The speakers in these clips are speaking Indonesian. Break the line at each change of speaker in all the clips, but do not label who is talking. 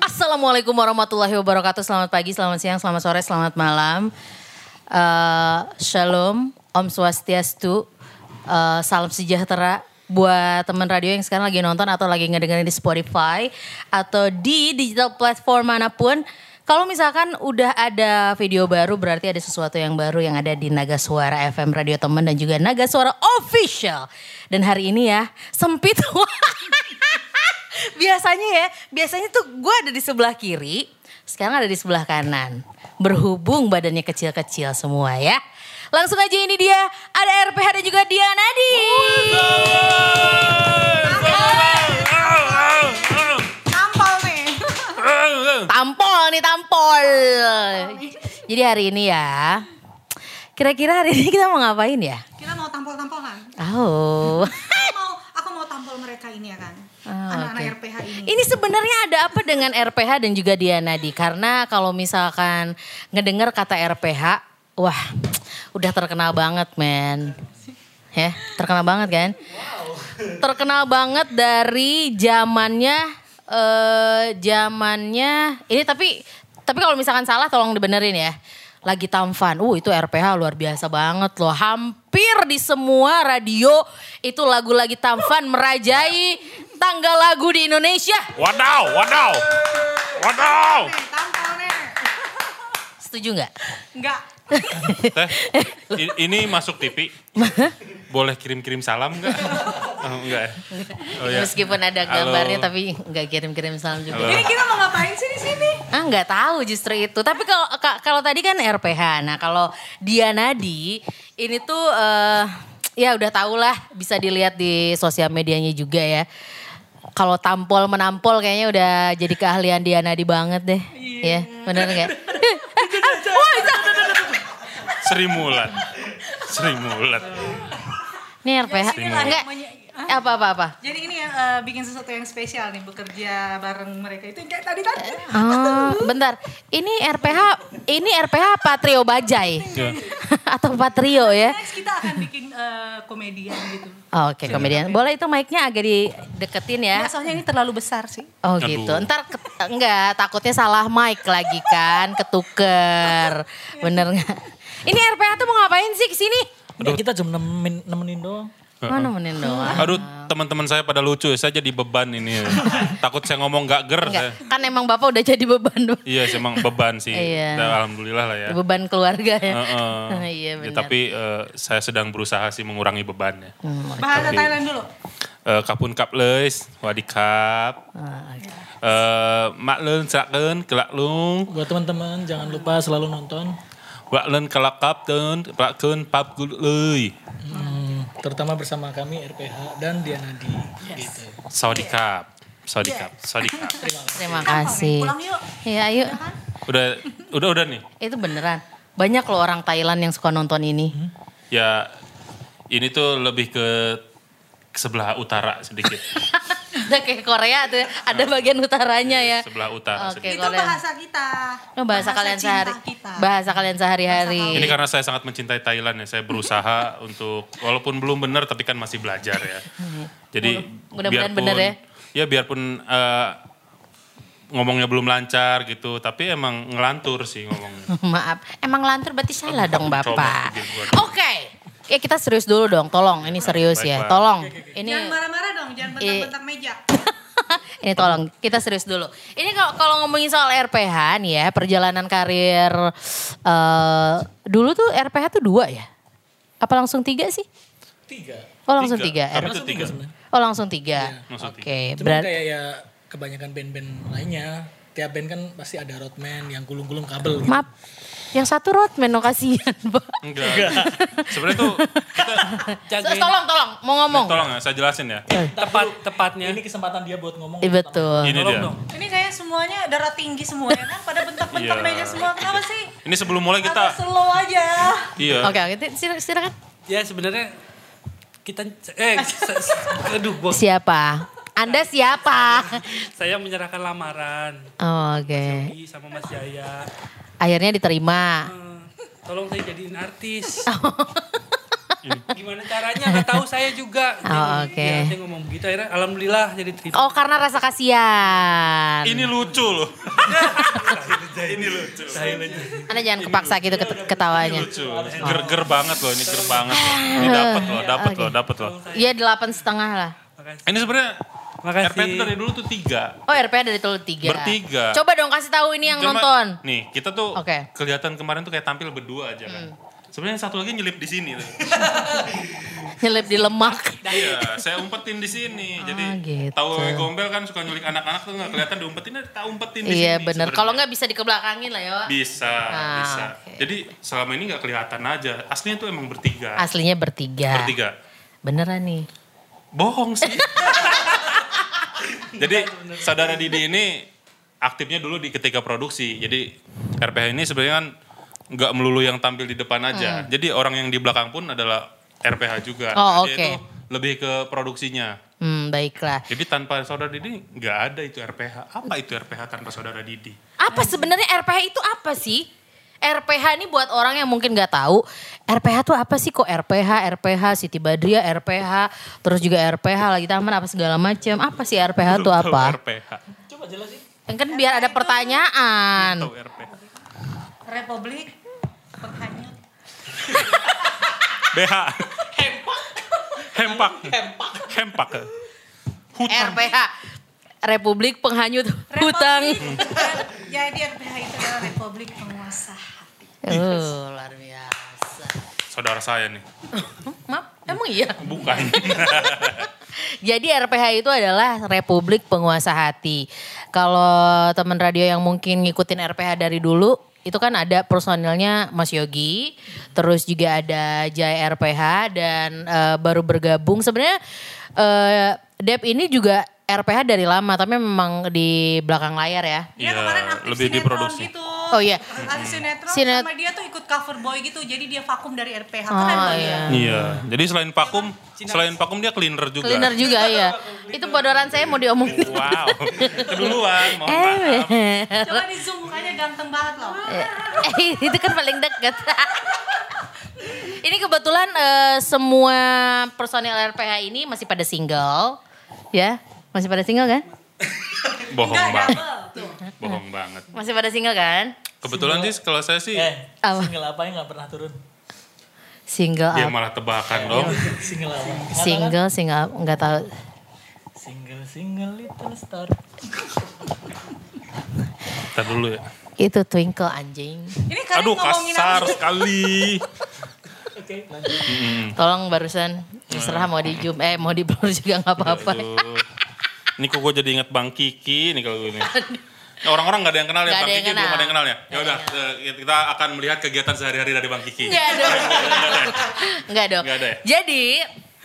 Assalamualaikum warahmatullahi wabarakatuh. Selamat pagi, selamat siang, selamat sore, selamat malam. Eh, shalom, Om Swastiastu, eh, salam sejahtera buat teman radio yang sekarang lagi nonton atau lagi ngedengerin di Spotify atau di digital platform manapun. Kalau misalkan udah ada video baru berarti ada sesuatu yang baru yang ada di Naga Suara FM Radio Teman dan juga Naga Suara Official. Dan hari ini ya sempit. biasanya ya, biasanya tuh gue ada di sebelah kiri, sekarang ada di sebelah kanan. Berhubung badannya kecil-kecil semua ya. Langsung aja ini dia, ada RPH dan juga Diana di.
Tampol nih.
Tampol nih, tampol. Jadi hari ini ya, kira-kira hari ini kita mau ngapain ya?
Kita mau tampol-tampol kan?
Oh.
Aku mau, aku mau tampol mereka ini ya kan?
Ah,
Anak-anak
oke.
RPH ini.
Ini sebenarnya ada apa dengan RPH dan juga Diana di? Karena kalau misalkan ngedengar kata RPH, wah, udah terkenal banget, men. Ya, terkenal banget kan? Terkenal banget dari zamannya eh zamannya ini tapi tapi kalau misalkan salah tolong dibenerin ya. Lagi tamfan. Uh, itu RPH luar biasa banget loh. Hampir di semua radio itu lagu lagi tamfan merajai tanggal lagu di Indonesia.
Wadaw, wadaw, wadaw.
Nih, tampol nih.
Setuju nggak?
Enggak.
Teh, i- ini masuk TV. Boleh kirim-kirim salam nggak? Oh, enggak. ya? Oh, ya.
Meskipun ada
Halo.
gambarnya tapi nggak kirim-kirim salam juga.
Halo.
Jadi kita mau ngapain sih di sini?
Ah nggak tahu justru itu. Tapi kalau ka- kalau tadi kan RPH. Nah kalau dia Nadi ini tuh eh, ya udah tau lah bisa dilihat di sosial medianya juga ya. Kalau tampol menampol kayaknya udah jadi keahlian dia Nadi banget deh. Iya bener nggak?
Sri Mulat. Sri Mulat.
Ini RPH.
Iya,
Sini.
Enggak. Eh, Apa apa apa.
Jadi ini ya, eh, bikin sesuatu yang spesial nih bekerja bareng mereka itu yang kayak tadi tadi.
Oh, bentar. Ini RPH, ini RPH Patrio Bajai
Ya.
atau Patrio ya?
Next kita akan bikin eh, komedian gitu.
Oh, Oke,
Iya.
komedian. Boleh itu mic-nya agak dideketin ya.
Ya, soalnya ini terlalu besar sih.
Oh
Aduh.
gitu. Ntar ke- enggak takutnya salah mic lagi kan, ketuker. Bener nggak? Ini RPH tuh mau ngapain sih kesini?
Udah kita jam nemenin, nemenin doang.
Mau nemenin doang.
Aduh, teman-teman saya pada lucu. ya, Saya jadi beban ini. Takut saya ngomong gak ger.
Enggak,
Saya.
kan emang bapak udah jadi beban,
Iya, sih, emang beban sih.
Iya.
Dan Alhamdulillah lah ya.
beban keluarga ya.
Heeh.
iya
Ya,
benar.
tapi eh, saya sedang berusaha sih mengurangi bebannya.
Bahasa
Tapi-
Thailand dulu.
Eh, kapun kap leis, wadikap.
Ah,
Eh, mak leun serakeun kelak lung,
Buat teman-teman jangan lupa selalu nonton.
wak leun kelak kap teun, prakeun pap gul leuy.
Hmm, terutama bersama kami RPH dan Dianadi.
Ya.
Gitu.
Sawadikap, sawadikap, sawadikap.
Terima
Nih,
kasih.
Pulang yuk.
Iya, ayo.
Udah, udah, udah nih.
Itu beneran. Banyak loh orang Thailand yang suka nonton ini.
Ya, ini tuh lebih ke ke sebelah utara sedikit.
Udah kayak Korea tuh, ya. ada bagian utaranya ya.
sebelah utara
Oke.
sedikit.
Itu
Korea.
bahasa kita.
Oh, bahasa, kalian
cinta
sehari
Kita.
bahasa kalian sehari-hari.
Ini karena saya sangat mencintai Thailand ya. Saya berusaha untuk walaupun belum benar tapi kan masih belajar ya. Jadi
Mudah-mudahan
biarpun-
benar ya.
Ya biarpun eh, ngomongnya belum lancar gitu, tapi emang ngelantur sih ngomongnya.
Maaf, emang lantur berarti salah dong
Coba,
Bapak.
bikin gua
Oke. Ya kita serius dulu dong, tolong. Ini serius
Baik,
ya,
Pak.
tolong. Ini
Jangan marah-marah dong, jangan bentak-bentak meja.
ini tolong, kita serius dulu. Ini kalau kalau ngomongin soal RPH nih ya, perjalanan karir eh dulu tuh RPH tuh dua ya? Apa langsung tiga sih?
Tiga.
Oh langsung tiga. Eh,
Kami
R-
tuh tiga. Iya,
Oh langsung tiga.
langsung tiga.
Oke,
Cuman
berarti
kayak ya kebanyakan band-band lainnya. Tiap band kan pasti ada roadman yang gulung-gulung kabel gitu.
maaf. Yang satu roadman no kasihan, Pak.
Enggak. Sebenarnya tuh kita
Tolong, tolong, mau Iya, ngomong.
tolong ya, saya jelasin ya.
tepat tepatnya
Eh, Ini kesempatan dia buat ngomong.
Eh, Betul.
Ini dia.
Ini kayak semuanya darah tinggi semua ya kan? Pada bentak-bentak
Iya.
meja semua. Kenapa sih?
Ini sebelum mulai
Kita
kita
slow aja.
iya.
Oke, oke, sila- silakan.
ya sebenarnya kita eh se- se- aduh bos
Siapa? Anda siapa?
saya menyerahkan lamaran
Oh, Oke.
Ih, sama Mas Jaya
Akhirnya diterima. Oh.
Eh, tolong saya jadiin artis Gimana caranya? Gak tahu saya juga.
Oh,
Jadi,
oke.
ya, saya ngomong begitu akhirnya alhamdulillah jadi terima.
Oh karena rasa kasihan.
Ini lucu loh. ini lucu.
Anda jangan kepaksa gitu ket- ketawanya.
Lucu. Gerger banget loh, ini ger banget. Ini dapet loh, dapet loh, dapet loh.
Iya delapan setengah lah.
Ini sebenarnya
Makasih.
RP itu dari dulu tuh tiga.
Oh RP dari tuh tiga.
Bertiga.
Coba dong kasih tahu ini yang
Cuma-
nonton.
Nih, kita tuh
Oke. Hmm.
kelihatan kemarin tuh kayak tampil berdua aja kan. Sebenarnya satu lagi nyelip di sini. tuh.
Nyelip di lemak.
Iya, saya umpetin di sini. Jadi
gitu.
tahu wewe gombel kan suka nyulik anak-anak tuh nggak kelihatan diumpetin, tak umpetin
Iya
di sini.
bener.
sebenarnya.
Kalau nggak bisa dikebelakangin lah ya. Wak.
bisa,
Ah,
bisa.
oke.
Jadi selama ini nggak kelihatan aja. Aslinya tuh emang bertiga.
Aslinya bertiga.
Bertiga.
Beneran nih.
Bohong sih. Jadi saudara Didi ini aktifnya dulu di ketika produksi. Jadi RPH ini sebenarnya kan nggak melulu yang tampil di depan aja. Jadi orang yang di belakang pun adalah RPH juga.
Hmm. Oh, oke.
Dia itu lebih ke produksinya.
Hmm baiklah.
Jadi tanpa saudara Didi nggak ada itu RPH. Apa itu RPH tanpa saudara Didi?
Apa sebenarnya RPH itu apa sih? RPH ini buat orang yang mungkin nggak tahu, RPH tuh apa sih kok RPH, RPH Siti Badria, RPH, terus juga RPH lagi taman apa segala macam. Apa sih RPH tuh
Belum tahu
apa?
RPH.
Kan biar ada pertanyaan.
Tahu RPH.
Republik Penghanyut.
BH. Hempak. Hempak. Hempak. Hutan.
RPH Republik Penghanyut
Republik,
Hutang.
eh, Jadi RPH itu adalah Republik Penguasa Hati.
Oh, luar biasa.
Saudara saya nih.
Maaf, emang iya.
Bukan.
Jadi RPH itu adalah Republik Penguasa Hati. Kalau teman radio yang mungkin ngikutin RPH dari dulu, itu kan ada personilnya Mas Yogi, terus juga ada Jai RPH dan eh, baru bergabung. Sebenarnya eh, Dep ini juga RPH dari lama, tapi memang di belakang layar ya.
Dia
Iya,
kemarin aktif
lebih
sinetron
diproduksi.
gitu.
Oh, iya.
Aktif sinetron
Sinet-
sama dia tuh ikut cover boy gitu. Jadi dia vakum dari RPH.
Oh,
Keren banget.
iya.
Iya, jadi selain vakum, selain vakum dia cleaner juga.
Cleaner juga ya. Itu bodoran saya mau diomongin.
Wow, keduluan, mohon maaf.
Coba di zoom mukanya ganteng banget loh.
Eh, itu kan paling dekat. ini kebetulan eh, semua personil RPH ini masih pada single, ya? Masih pada single kan?
Bohong banget,
Tuh.
bohong banget.
Masih pada single kan?
Kebetulan sih kalau saya sih
Eh,
Apa?
single apa yang gak pernah turun?
Single
dia
up.
malah tebakan dong.
Single apa?
Single, single up, nggak tahu.
Single, single little star.
Ntar dulu ya.
Itu twinkle anjing.
Ini kalian
Aduh
ngomongin apa
kasar
sih?
sekali.
Oke, lanjut.
Tolong barusan terserah mau di zoom, eh mau di blur juga nggak apa-apa.
Aduh. Ini kok gue jadi inget Bang Kiki nih kalau gue ini. Nah, Orang-orang gak ada yang kenal ya
Nggak
Bang
ada yang
Kiki, belum
kenal.
ada yang kenal ya. Ya udah, eh, kita akan melihat kegiatan sehari-hari dari Bang Kiki.
Enggak dong. Enggak dong.
Nggak ada ya?
Jadi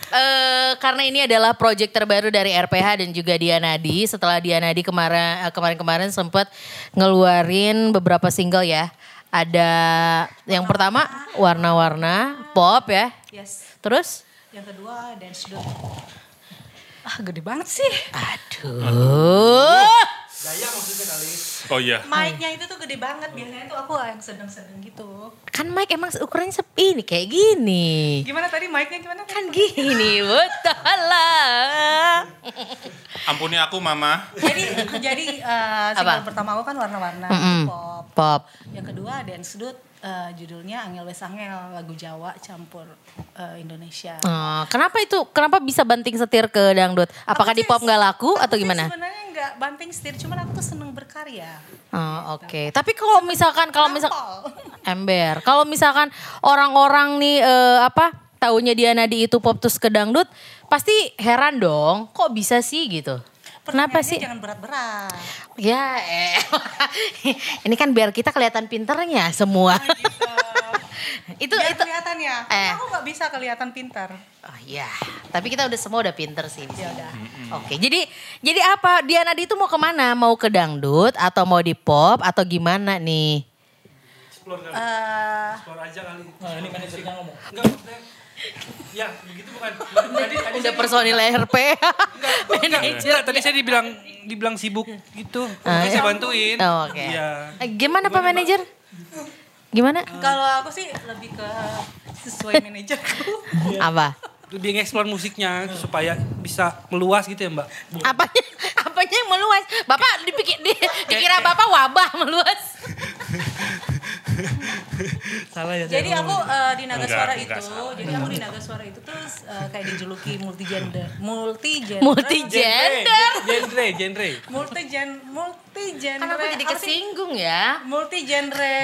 eh karena ini adalah project terbaru dari RPH dan juga Dianadi. Setelah Dianadi kemarin eh, kemarin-kemarin sempat ngeluarin beberapa single ya. Ada yang pertama warna-warna pop ya.
Yes.
Terus
Yang kedua dance dot. Ah gede banget sih.
aduh.
Oh iya,
Mic-nya itu tuh gede banget. Biasanya tuh aku yang sedang-sedang gitu.
Kan Mike emang ukurannya sepi nih kayak gini.
Gimana tadi mic-nya gimana? tadi?
Kan gini betul lah.
ampuni aku mama.
jadi jadi eh, single pertama aku kan warna-warna
Mm-mm.
pop.
Pop.
Yang kedua dance dot eh, judulnya Angel Wes Angel lagu Jawa campur eh, Indonesia.
Oh, kenapa itu? Kenapa bisa banting setir ke dangdut? Apakah di pop nggak laku atau
Aku sih
gimana?
Sebenarnya nggak banting setir, cuman aku tuh seneng berkarya.
Oh, oke. Tapi kalau misalkan kalau misal
Nampol.
ember, kalau misalkan orang-orang nih eh, apa taunya Diana di itu pop terus ke dangdut, pasti heran dong. Kok bisa sih gitu? Kenapa
Pertanyaannya
sih?
Jangan berat-berat.
Ya, eh. ini kan biar kita kelihatan pinternya semua. itu
Oh, gitu. Biar
itu.
kelihatan ya.
Eh.
Aku nggak bisa kelihatan pintar.
Oh iya, tapi kita udah semua udah pinter sih. Ya Oke, jadi jadi apa? Diana di itu mau kemana? Mau ke dangdut atau mau di pop atau gimana nih?
Eh,
aja kali. Nah, ini manajernya ngomong. Enggak, maksudnya- Ya, begitu bukan. Tadi, tadi
Udah personil RP.
Manajer. tadi saya dibilang dibilang sibuk gitu.
Ah,
Makanya saya bantuin.
Oh, Oke.
Iya.
Eh, Gimana Pak Manajer? Gimana?
Kalau aku sih lebih ke sesuai manajerku.
Apa?
Lebih nge-explore musiknya supaya bisa meluas gitu ya mbak.
Apanya? Apanya yang meluas? Bapak dipikir di- dikira bapak wabah meluas.
Salah ya.
Jadi
saya
aku
ngomong.
eh, di Naga
Enggak,
Suara
enggak
itu,
salah.
jadi aku di Naga Suara itu tuh eh, kayak dijuluki multi gender, multi gender,
Multi gender.
Genre, genre.
multi gen, multi genre.
Kan aku jadi
apa sih?
kesinggung ya.
Multi genre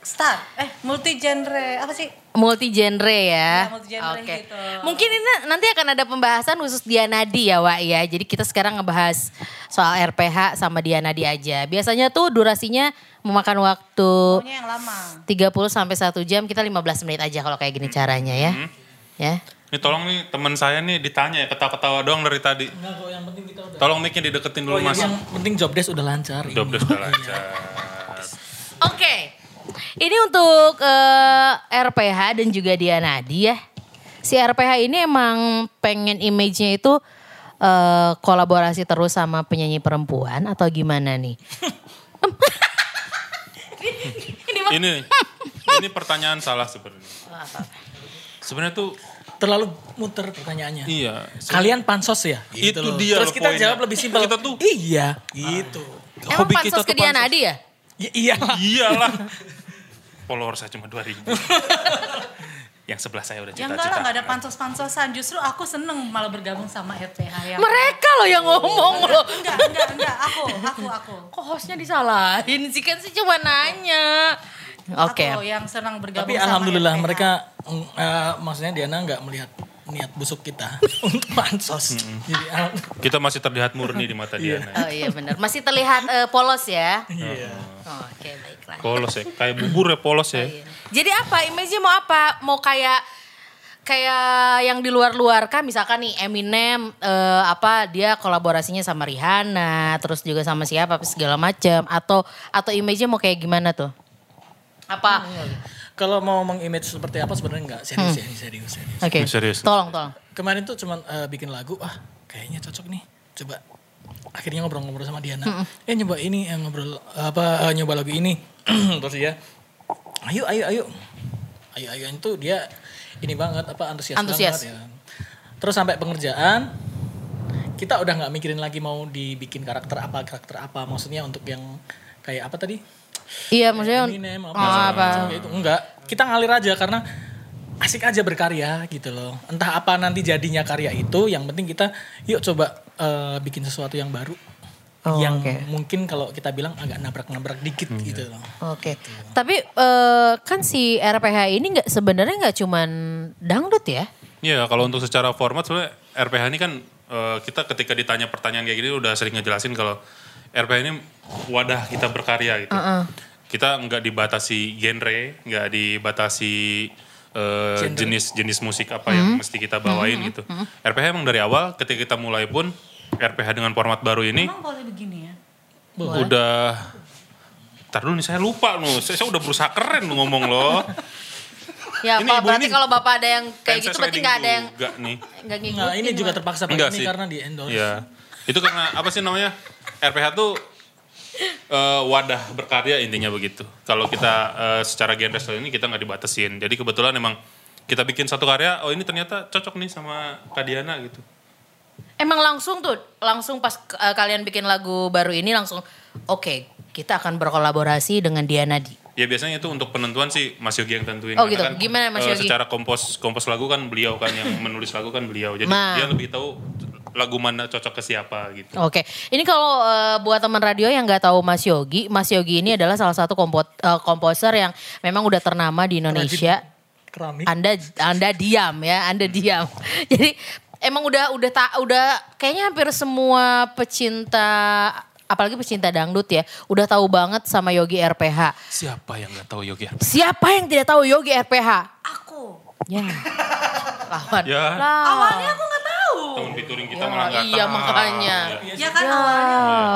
star, eh multi genre apa sih?
Multi genre ya.
Iya, multi-genre
Eh, Oke.
gitu.
Mungkin ini nanti akan ada pembahasan khusus Dianadi ya, Wak ya. Jadi kita sekarang ngebahas soal RPH sama Dianadi aja. Biasanya tuh durasinya memakan waktu
Pokoknya yang lama.
30 sampai 1 jam, kita 15 menit aja kalau kayak gini caranya ya.
Hmm.
Ya.
Ini tolong nih teman saya nih ditanya ya ketawa-ketawa doang dari tadi.
Enggak kok yang penting kita udah.
Tolong mic-nya dideketin dulu Mas.
Yang penting job desk udah lancar. ini.
Job desk udah lancar.
Oke. Ini untuk eh, RPH dan juga Dianadi ya. Si RPH ini emang pengen image-nya itu eh, kolaborasi terus sama penyanyi perempuan atau gimana nih? ini mah
Ini ini pertanyaan salah sebenarnya. Sebenarnya tuh
Terlalu muter pertanyaannya.
iya.
Kalian pansos ya?
Itu
loh.
dia
Terus
loh
kita
poinnya.
jawab lebih simpel.
Kita tuh-
Iya. Gitu.
emang
Hobi kita
pansos
tuh
ke Dianadi ya?
Ya, iya.
Iyalah. Follower saya cuma 2000. yang sebelah saya udah
Ya enggak lah,
cita-cita.
enggak ada pansos-pansosan. Justru aku seneng malah bergabung sama RPH
Ya.
yang...
Mereka loh yang ngomong loh.
ya. Enggak, enggak, enggak. Aku, aku, aku.
Kok hostnya disalahin sih kan sih cuma nanya. Oke.
Aku yang senang bergabung
Tapi
sama
alhamdulillah
RPH.
mereka mm, eh, maksudnya Diana nggak melihat niat busuk kita untuk pansos. Jadi al-
Kita masih terlihat murni di mata Diana.
Oh iya benar. Masih terlihat eh, polos ya.
iya.
Oke, baiklah.
Polos ya, kayak bubur ya polos ya.
Jadi apa image-nya mau apa? Mau kayak kayak yang di luar-luar kan misalkan nih Eminem eh, apa dia kolaborasinya sama Rihanna, terus juga sama siapa segala macam atau atau image-nya mau kayak gimana tuh? Apa?
Kalau mau mengimage seperti apa sebenarnya nggak serius,
Hmm.
serius, serius, serius.
Oke.
Serius.
Tolong, tolong.
Kemarin tuh cuman eh, bikin lagu, ah kayaknya cocok nih. Coba akhirnya ngobrol-ngobrol sama Diana. Eh nyoba ini, eh, ngobrol apa eh, nyoba lagu ini. Terus dia, ayo, ayo, ayo, ayo, ayo itu dia ini banget apa antusias,
Antusias.
banget ya. Terus sampai pengerjaan kita udah nggak mikirin lagi mau dibikin karakter apa karakter apa maksudnya untuk yang kayak apa tadi
Iya, maksudnya
Eminem Ah, apa,
oh, apa?
macam kayak itu enggak kita ngalir aja karena asik aja berkarya gitu loh entah apa nanti jadinya karya itu yang penting kita yuk coba eh, bikin sesuatu yang baru
Oh,
yang
oke.
mungkin kalau kita bilang agak nabrak-nabrak dikit
Iya.
gitu loh
Oke. Tapi eh, kan si RPH ini nggak sebenarnya nggak cuman dangdut ya?
Iya, kalau untuk secara format sebenarnya RPH ini kan eh, kita ketika ditanya pertanyaan kayak gini udah sering ngejelasin kalau RPH ini wadah kita berkarya gitu. Kita nggak dibatasi genre, nggak dibatasi eh, jenis-jenis musik apa yang mesti kita bawain gitu. RPH emang dari awal ketika kita mulai pun RPH dengan format baru ini
Emang boleh begini ya?
udah Ntar dulu nih saya lupa loh, saya, saya udah berusaha keren loh ngomong loh.
Ya,
Ini
Pak,
ibu
berarti
ini
kalau Bapak ada yang kayak
Fans
gitu
saya
berarti
sliding
nggak ada yang
juga nih.
nggak ngikutin.
nah ini juga
Wak.
terpaksa
Enggak
pakai ini
sih.
karena di endorse
Iya. Itu karena apa sih namanya? RPH tuh eh, wadah berkarya intinya begitu. Kalau kita eh, secara genre style ini kita nggak dibatasin. Jadi kebetulan emang kita bikin satu karya, oh ini ternyata cocok nih sama Kak Diana gitu.
Emang langsung tuh, langsung pas eh, kalian bikin lagu baru ini langsung, oke, kita akan berkolaborasi dengan Diana Di.
Ya biasanya itu untuk penentuan sih Mas Yogi yang tentuin.
Oh,
Karena
gitu.
Kan,
Gimana, Mas
eh,
Yogi?
secara kompos kompos lagu kan beliau kan yang menulis lagu kan beliau. Jadi
Nah.
dia lebih tahu lagu mana cocok ke siapa gitu.
Oke, ini kalau eh, buat teman radio yang nggak tahu Mas Yogi, Mas Yogi ini adalah salah satu kompot- eh, komposer yang memang udah ternama di Indonesia.
keramik
Anda Anda diam ya, Anda
Hmm.
diam. Jadi emang udah udah tak udah kayaknya hampir semua pecinta apalagi pecinta dangdut ya, udah tahu banget sama Yogi RPH.
Siapa yang nggak tahu Yogi?
Siapa yang tidak tahu Yogi RPH?
Aku.
Ya. Lawan.
Ya.
Lah.
Awalnya aku nggak tahu.
Teman featuring kita
Ya,
malah nggak
iya,
tahu.
makanya. Oh,
Ya.
Ya kan awalnya.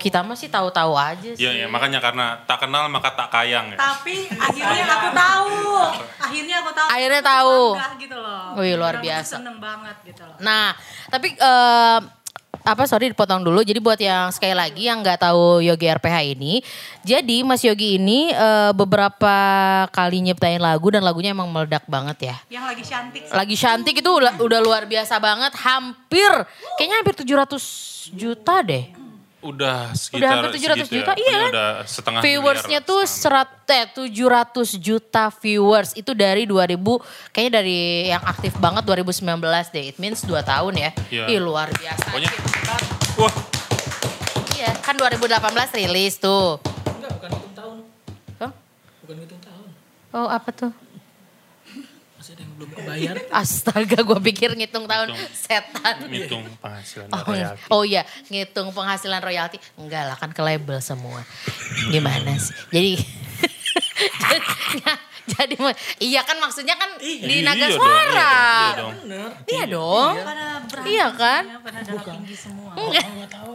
Kita masih tahu-tahu aja sih.
Iya, iya, makanya karena tak kenal maka tak kayang ya.
Tapi akhirnya aku tahu. Akhirnya aku tahu.
Akhirnya
Aku tuh
tahu.
bangga gitu loh.
Wih, luar
Dan aku tuh
biasa.
Seneng banget gitu loh.
Nah, tapi Nah, eh, apa sorry dipotong dulu. Jadi buat yang sekali lagi yang nggak tahu Yogi RPH ini, jadi Mas Yogi ini eh, beberapa kali nyiptain lagu dan lagunya emang meledak banget ya.
Yang lagi cantik.
Lagi cantik itu udah, udah luar biasa banget. Hampir kayaknya hampir 700 juta deh.
Udah sekitar
Udah hampir 700
segitu ya.
juta, iya
Ini
kan?
Udah setengah
Viewersnya
miliar lah,
tuh
setengah
serat, eh, 700 juta viewers. Itu dari 2000, kayaknya dari yang aktif banget 2019 deh. It means 2 tahun ya.
Iya.
Ih luar biasa.
Pokoknya, wah
Iya, kan 2018 rilis tuh.
Enggak, bukan hitung tahun.
Hah?
Bukan hitung tahun.
Oh apa tuh?
Masih ada yang belum kebayar.
Astaga gue pikir ngitung tahun
Ngitung.
setan.
ngitung penghasilan
Oh,
royalti.
oh iya, ngitung penghasilan royalti. Enggak lah kan ke label semua. Gimana sih? Jadi ya, jadi iya kan maksudnya kan di
Iya
naga
dong,
suara.
iya dong, iya dong.
Bener.
Iya dong.
Pada berantem
Iya kan?
ya, Pada darah tinggi semua.
Enggak. Enggak tahu.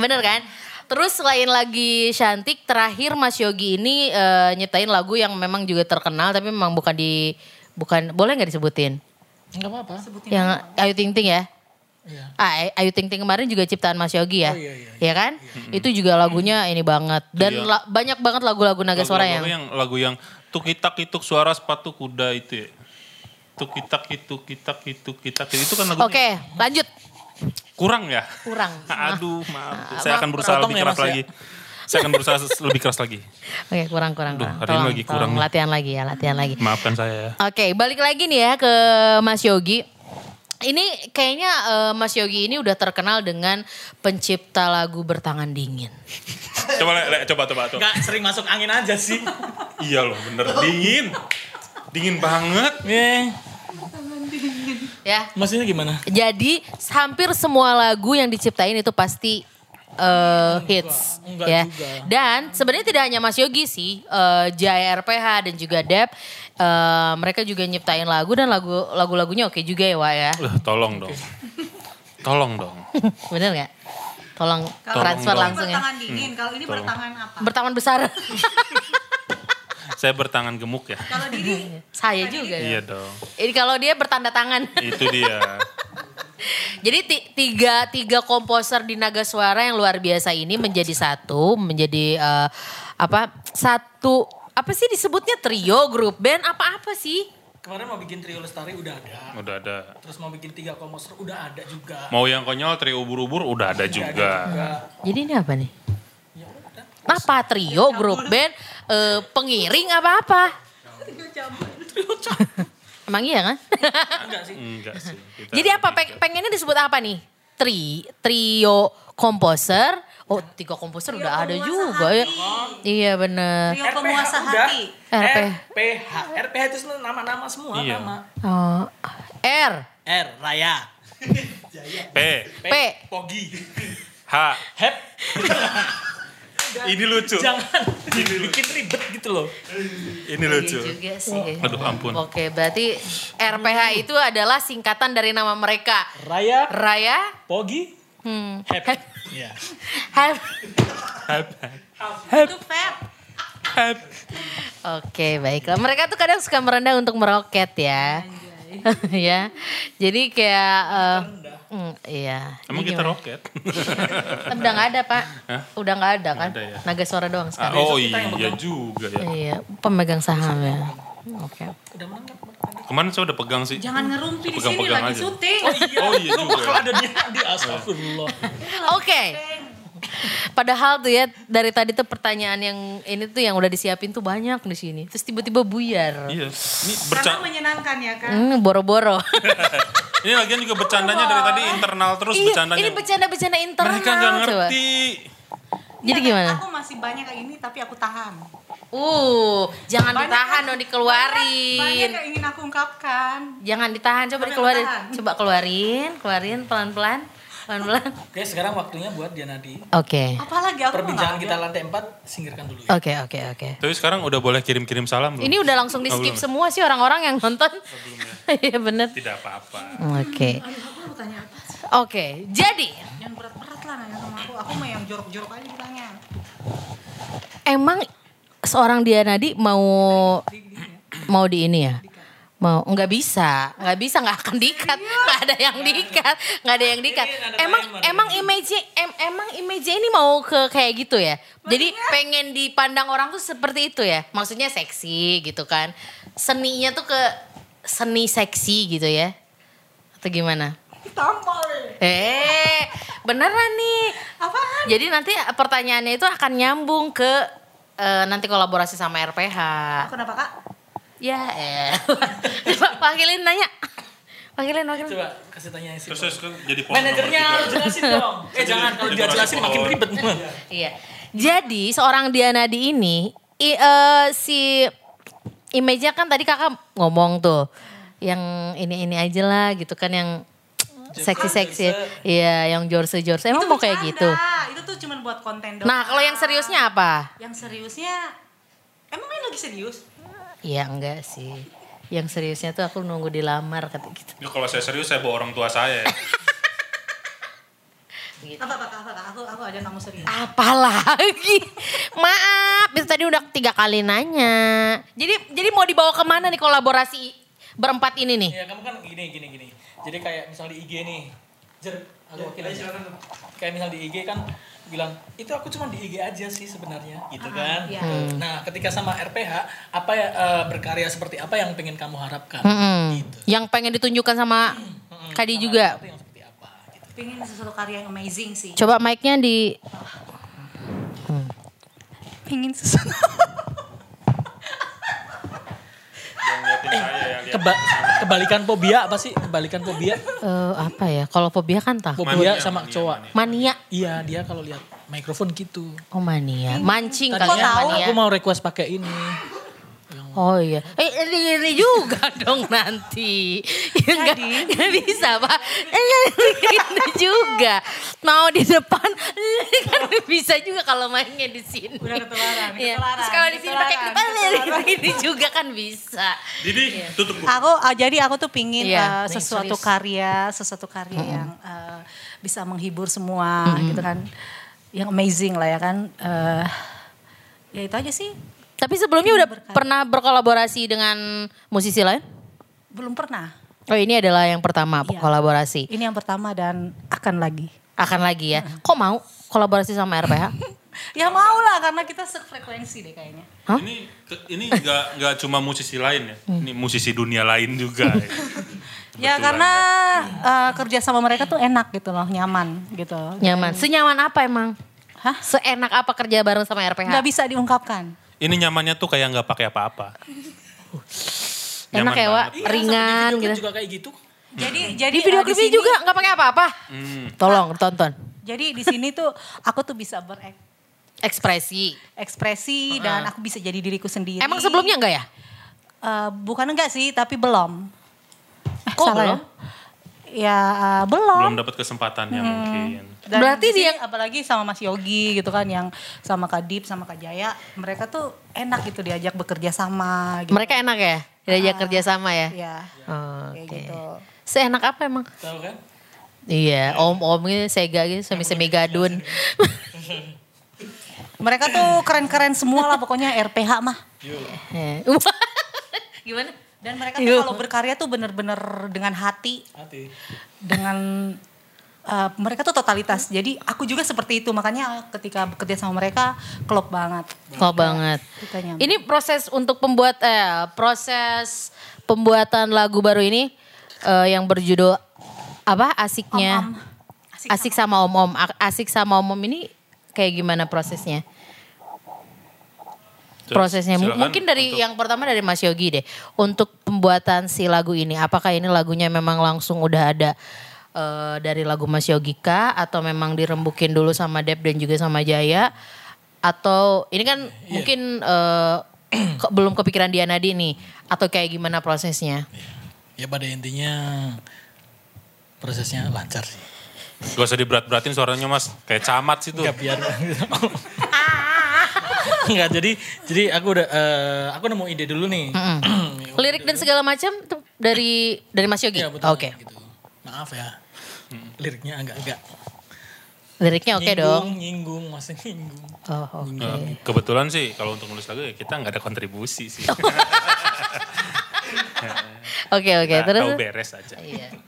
Bener kan? Terus selain lagi cantik, terakhir Mas Yogi ini eh, nyiptain lagu yang memang juga terkenal tapi memang bukan di bukan boleh nggak disebutin?
Enggak apa-apa.
Yang Ayu Ting Ting ya?
Iya.
Ah, Ayu Ting Ting kemarin juga ciptaan Mas Yogi ya?
Oh, iya, iya,
kan? Itu juga lagunya ini banget dan
Iya.
la- banyak banget lagu-lagu naga suara yang
Lagu-lagu lagu yang tuk itak ituk suara sepatu kuda itu ya. Tuk itak ituk itak ituk itak itu kan lagu
Oke, Nah. lanjut.
kurang ya?
Kurang.
Aduh, maaf. Saya akan berusaha
potong
lebih
ya,
keras
Mas, ya.
lagi. Saya akan berusaha lebih keras lagi.
Oke, kurang kurang
Aduh,
kurang.
hari ini lagi kurang nih.
latihan lagi ya, latihan lagi.
Maafkan saya ya.
Oke, balik lagi nih ya ke Mas Yogi. Ini kayaknya eh, Mas Yogi ini udah terkenal dengan pencipta lagu bertangan dingin.
Coba, Le, Le, coba, coba. coba.
Enggak sering masuk angin aja sih.
Iya loh, bener. Dingin. Dingin banget.
Nih,
Ya.
maksudnya gimana?
Jadi hampir semua lagu yang diciptain itu pasti eh, hits
enggak
ya.
juga.
Dan sebenarnya tidak hanya Mas Yogi sih, eh, Jaya RPH dan juga Deb eh, mereka juga nyiptain lagu dan lagu lagu-lagunya oke juga ya, Wak ya.
Eh, tolong dong. Tolong dong.
Bener nggak? Tolong
Kalau
transfer
dong.
ini
langsung ya.
bertangan dingin, kalau ini bertangan apa?
Bertangan besar.
Saya bertangan gemuk ya.
Kalau diri
Saya juga. ya.
Iya dong.
Ini kalau dia bertanda tangan.
Itu dia.
Jadi ti- tiga tiga komposer di Naga Suara yang luar biasa ini menjadi satu, menjadi eh, apa? Satu apa sih disebutnya trio, grup band, apa-apa sih?
Kemarin mau bikin trio lestari udah ada.
Udah ada.
Terus mau bikin tiga komposer udah ada juga.
Mau yang konyol, trio ubur-ubur udah ada juga.
Jadi ini apa nih? Apa trio, grup band, eh, pengiring apa-apa? Emang iya kan?
Enggak sih.
Enggak sih. kita
Jadi apa
lebih
peng- pengennya disebut apa nih? Tri trio komposer. Oh, tiga komposer udah ada
penguasa
juga ya. Iya bener.
Trio penguasa
udah.
hati.
Eh,
RP.
RPH. RPH itu semua nama-nama semua
Iya.
nama.
Oh, R
R Raya.
P,
P.
Pogi.
H.
Hep.
Ini lucu.
Jangan bikin ribet gitu loh.
Ini lucu.
Iya juga sih.
Aduh ampun.
Oke, berarti RPH itu adalah singkatan dari nama mereka.
Raya,
Raya,
Pogi,
hmm,
Hep. Iya.
have.
Itu Feb.
Oke, baiklah. Mereka tuh kadang suka merendah untuk meroket ya. ya. Jadi kayak eh, mm, iya.
Emang
Ini
kita
gimana?
roket?
Udah nggak ada, Pak. Udah nggak ada kan?
Nggak ada ya?
Naga suara doang
Ah,
sekarang.
oh iya juga ya.
Iya, pemegang saham ya. Oke.
Kemarin saya udah pegang sih.
Jangan ngerumpi di sini
Pegang-pegang
lagi
aja.
syuting.
Oh iya juga.
Kalau ada dia di astagfirullah.
Oke. Padahal tuh ya dari tadi tuh pertanyaan yang ini tuh yang udah disiapin tuh banyak di sini. Terus tiba-tiba buyar.
Iya. Ini
Karena
bercanda.
menyenangkan ya kan.
Hmm, boro-boro.
Ini lagian juga bercandanya dari tadi internal terus
Iya,
bercandanya.
ini bercanda-bercanda internal.
Mereka nggak
coba.
ngerti.
Jadi
Iya,
gimana?
Aku masih banyak kayak ini tapi aku tahan.
Uh, jangan ditahan dong
Banyak kan- Banyak kan?
dikeluarin.
yang ingin aku ungkapkan.
Jangan ditahan, coba
Tapi
dikeluarin.
aku tahan.
Coba keluarin, keluarin pelan-pelan, pelan-pelan.
Oke, sekarang waktunya buat Dianadi.
Oke.
Apalagi aku
Perbincangan
nggak
kita lantai 4 singkirkan dulu ya.
Oke, oke, oke.
Tapi sekarang udah boleh kirim-kirim salam belum?
Ini udah langsung di
Oh,
skip
belum. ya.
semua sih orang-orang yang nonton. Iya bener.
Tidak apa-apa.
Oke.
ada. Aduh, aku mau tanya apa sih?
Oke, jadi
Yang berat-berat lah nanya sama aku. Aku mau yang jorok-jorok aja ditanya.
emang seorang Dianadi mau mau di ini ya? Mau nggak bisa, nggak bisa nggak akan dikat, nggak ada yang dikat, nggak ada yang dikat. Emang emang image em- emang image ini mau ke kayak gitu ya. Jadi pengen dipandang orang tuh seperti itu ya. Maksudnya seksi gitu kan. Seninya tuh ke seni seksi gitu ya. Atau gimana?
Tampol.
Eh, beneran nih.
Apaan?
Jadi nanti eh, pertanyaannya itu akan nyambung ke eh, nanti kolaborasi sama RPH.
Kenapa kak?
Ya, eh. Coba wakilin nanya. Wakilin, wakilin.
Coba kasih tanya si
Terus terus kan jadi poin nomor
Manajernya
tiga.
harus jelasin dong. Eh jangan kalau
Jadi
dia
orang
jelasin makin
pohon.
ribet.
Iya. Jadi seorang Dianadi ini i- eh, si image-nya kan tadi Kakak ngomong tuh yang ini-ini aja lah gitu kan yang seksi-seksi. Iya, yang jorse-jorse. Emang
Itu
mau kayak gitu.
bercanda. Itu tuh cuman buat konten doang.
Nah, kalau yang seriusnya apa?
Yang seriusnya, emang ini lagi serius?
Iya enggak sih. Yang seriusnya tuh aku nunggu dilamar kata gitu.
Lu kalau saya serius saya bawa orang tua saya.
Eh, Iya.
Apa apa Kak? apa Kak? Aku aku ada yang kamu serius.
Apalagi. Maaf, itu tadi udah tiga kali nanya. Jadi jadi mau dibawa kemana nih kolaborasi berempat ini nih?
Iya kamu kan gini gini gini. Jadi kayak misal di IG nih. Jer, aku wakil aja. Kayak misal di IG kan bilang itu aku cuma di IG aja sih sebenarnya gitu
Ah,
kan.
iya.
Hmm.
Gitu. Nah ketika sama RPH apa ya eh, berkarya seperti apa yang pengen kamu harapkan?
Mm-mm. Yang pengen ditunjukkan sama Kadi Hmm. juga.
Itu yang seperti apa? Gitu.
Pengen sesuatu karya yang amazing sih.
Coba mic-nya di
Pengen sesuatu.
Jangan liatin saya ya. liatin.
Keba- kebalikan fobia apa sih? Kebalikan fobia?
eh, apa ya? Kalau fobia kan takut.
Fobia
Mania,
sama
mania,
cowok.
Mania.
Iya dia kalau lihat mikrofon gitu.
Oh mania. Mancing
Tadinya
kali ya
tahu?
mania.
aku mau request pakai ini.
Oh iya, eh ini, ini juga dong nanti. Ya, enggak, enggak bisa pak. Eh, ini juga mau di depan kan bisa juga kalau mainnya di sini.
Udah ketularan,
Iya.
ketularan,
Terus kalau di sini pakai
ketularan,
depan ini juga kan bisa.
Didi, tutup bu.
Aku ah, jadi aku tuh pingin
Iya,
eh,
nih,
sesuatu
serius.
karya, sesuatu karya yang eh, bisa menghibur semua gitu kan. Yang amazing lah ya kan. Eh, ya itu aja sih.
Tapi sebelumnya udah pernah berkolaborasi dengan musisi lain?
Belum pernah.
Oh ini adalah yang pertama
Iya.
kolaborasi.
Ini yang pertama dan akan lagi.
Akan lagi ya. Kok mau kolaborasi sama RPH?
Ya mau lah karena kita sefrekuensi deh kayaknya.
Hah? Hmm.
Ini ke- ini nggak nggak cuma musisi lain ya. Ini musisi dunia lain juga. ya.
Ya
Kebetulan
karena eh, kerja sama mereka tuh enak gitu loh, nyaman gitu.
Nyaman. Senyaman apa emang?
Hah?
Seenak apa kerja bareng sama RPH?
Nggak bisa diungkapkan.
Ini nyamannya tuh kayak nggak pakai apa-apa.
Enak ya, Wak.
banget.
Ringan
Video
gitu.
juga kayak gitu.
Jadi jadi
Di video
eh,
klipnya
sini-
juga nggak pakai apa-apa. Tolong tonton.
Jadi di sini tuh aku tuh bisa berekspresi
Ekspresi.
dan aku bisa jadi diriku sendiri.
Emang sebelumnya enggak ya?
Eh, bukan enggak sih, tapi belum. Eh,
Kok
salah
belum?
Ya, ya eh, belum.
Belum dapat kesempatannya
Hmm.
mungkin.
Dan
Berarti
di sini,
dia-
apalagi sama Mas Yogi gitu kan yang sama Kak Dip, sama Kak Jaya, mereka tuh enak gitu diajak bekerja sama gitu.
Mereka enak ya? Diajak kerja sama ya?
ya.
Oh,
Kayak
Oke.
gitu.
Seenak apa emang?
Tahu kan?
Iya, om-om gitu, sega gitu, semi-semi gadun.
Mereka tuh keren-keren semua lah pokoknya RPH mah.
Iya,
Eh, wah. Gimana?
Dan mereka tuh
Iya.
kalau berkarya tuh bener-bener dengan hati,
Hati.
dengan eh, mereka tuh totalitas. Jadi aku juga seperti itu makanya ketika bekerja sama mereka klop banget.
Oh banget.
Kita Iya, nyaman.
Ini proses untuk pembuat eh, proses pembuatan lagu baru ini eh, yang berjudul apa asiknya?
Om-om. Asik
Asik, sama om om. A- Asik sama om om ini kayak gimana prosesnya?
Terus,
prosesnya M-
silakan
mungkin dari
untuk-
yang pertama dari Mas Yogi deh untuk pembuatan si lagu ini apakah ini lagunya memang langsung udah ada eh, dari lagu Mas Yogi kah atau memang dirembukin dulu sama Dep dan juga sama Jaya atau ini kan
Iya.
mungkin eh, ke- belum kepikiran Dianadi nih atau kayak gimana prosesnya
Ya pada intinya prosesnya lancar sih.
Gak usah diberat-beratin suaranya mas. Kayak camat sih tuh.
Enggak Ya, biar. Enggak jadi jadi aku udah eh, aku nemu ide dulu nih.
lirik dan segala macam tuh dari dari Mas Yogi
Iya,
oke
betul, gitu. Maaf ya. Liriknya agak agak.
liriknya oke dong
Nyinggung, masih nyinggung.
oh, oke.
Nah, kebetulan sih kalau untuk nulis lagu ya kita nggak ada kontribusi sih.
Oke oke
Nah,
Nggak
terus.
tahu beres aja.
Iya.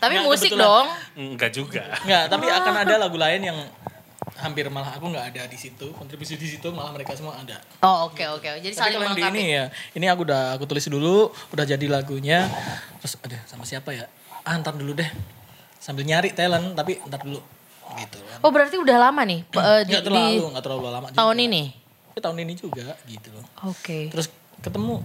Tapi
Nggak,
musik
Nah, kebetulan.
dong.
Enggak juga.
Nggak, tapi akan ada lagu lain yang hampir malah aku nggak ada di situ kontribusi di situ malah mereka semua ada
Oh oke oke. Jadi
tapi
saling
kalau yang di
melengkapi.
ini ya ini aku udah aku tulis dulu udah jadi lagunya terus ada sama siapa ya ah ntar dulu deh sambil nyari talent tapi ntar dulu gitu kan
Oh berarti udah lama nih pe- eh, di,
nggak
di
terlalu nggak terlalu lama juga.
tahun ini.
Tapi tahun ini juga gitu loh
Oke.
terus ketemu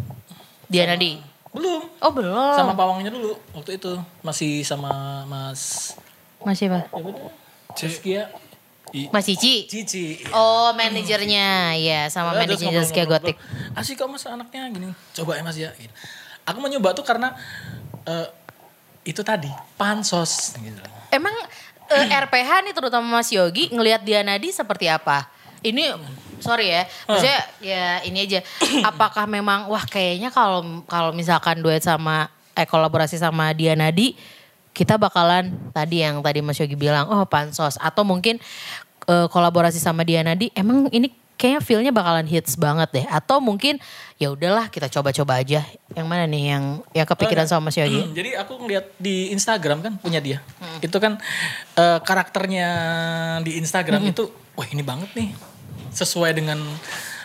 Dia Nadi.
belum
Oh belum.
sama pawangnya dulu waktu itu masih sama Mas
Mas siapa?
ya udah, Saskia
Mas Cici.
Cici
Oh manajernya ya sama
Udah, terus
manajernya Zaskia
ngobrol-ngobrol,
Gotik.
ngobrol. Asik kok mas anaknya gini. Coba ya mas ya. Gitu. Aku mau nyoba tuh karena eh, itu tadi pansos gitu.
Emang eh, RPH nih terutama Mas Yogi ngelihat Dianadi seperti apa? Ini sorry ya, maksudnya ya ini aja. Apakah memang wah kayaknya kalau kalau misalkan duet sama eh kolaborasi sama Dianadi kita bakalan tadi yang tadi Mas Yogi bilang oh pansos atau mungkin eh, kolaborasi sama Dianadi emang ini kayaknya feel-nya bakalan hits banget deh atau mungkin ya udahlah kita coba-coba aja yang mana nih yang yang kepikiran sama Mas Yogi?
Hmm. Jadi aku ngeliat di Instagram kan punya dia.
Hmm.
Itu kan eh, karakternya di Instagram
Hmm.
itu wah ini banget nih. Sesuai dengan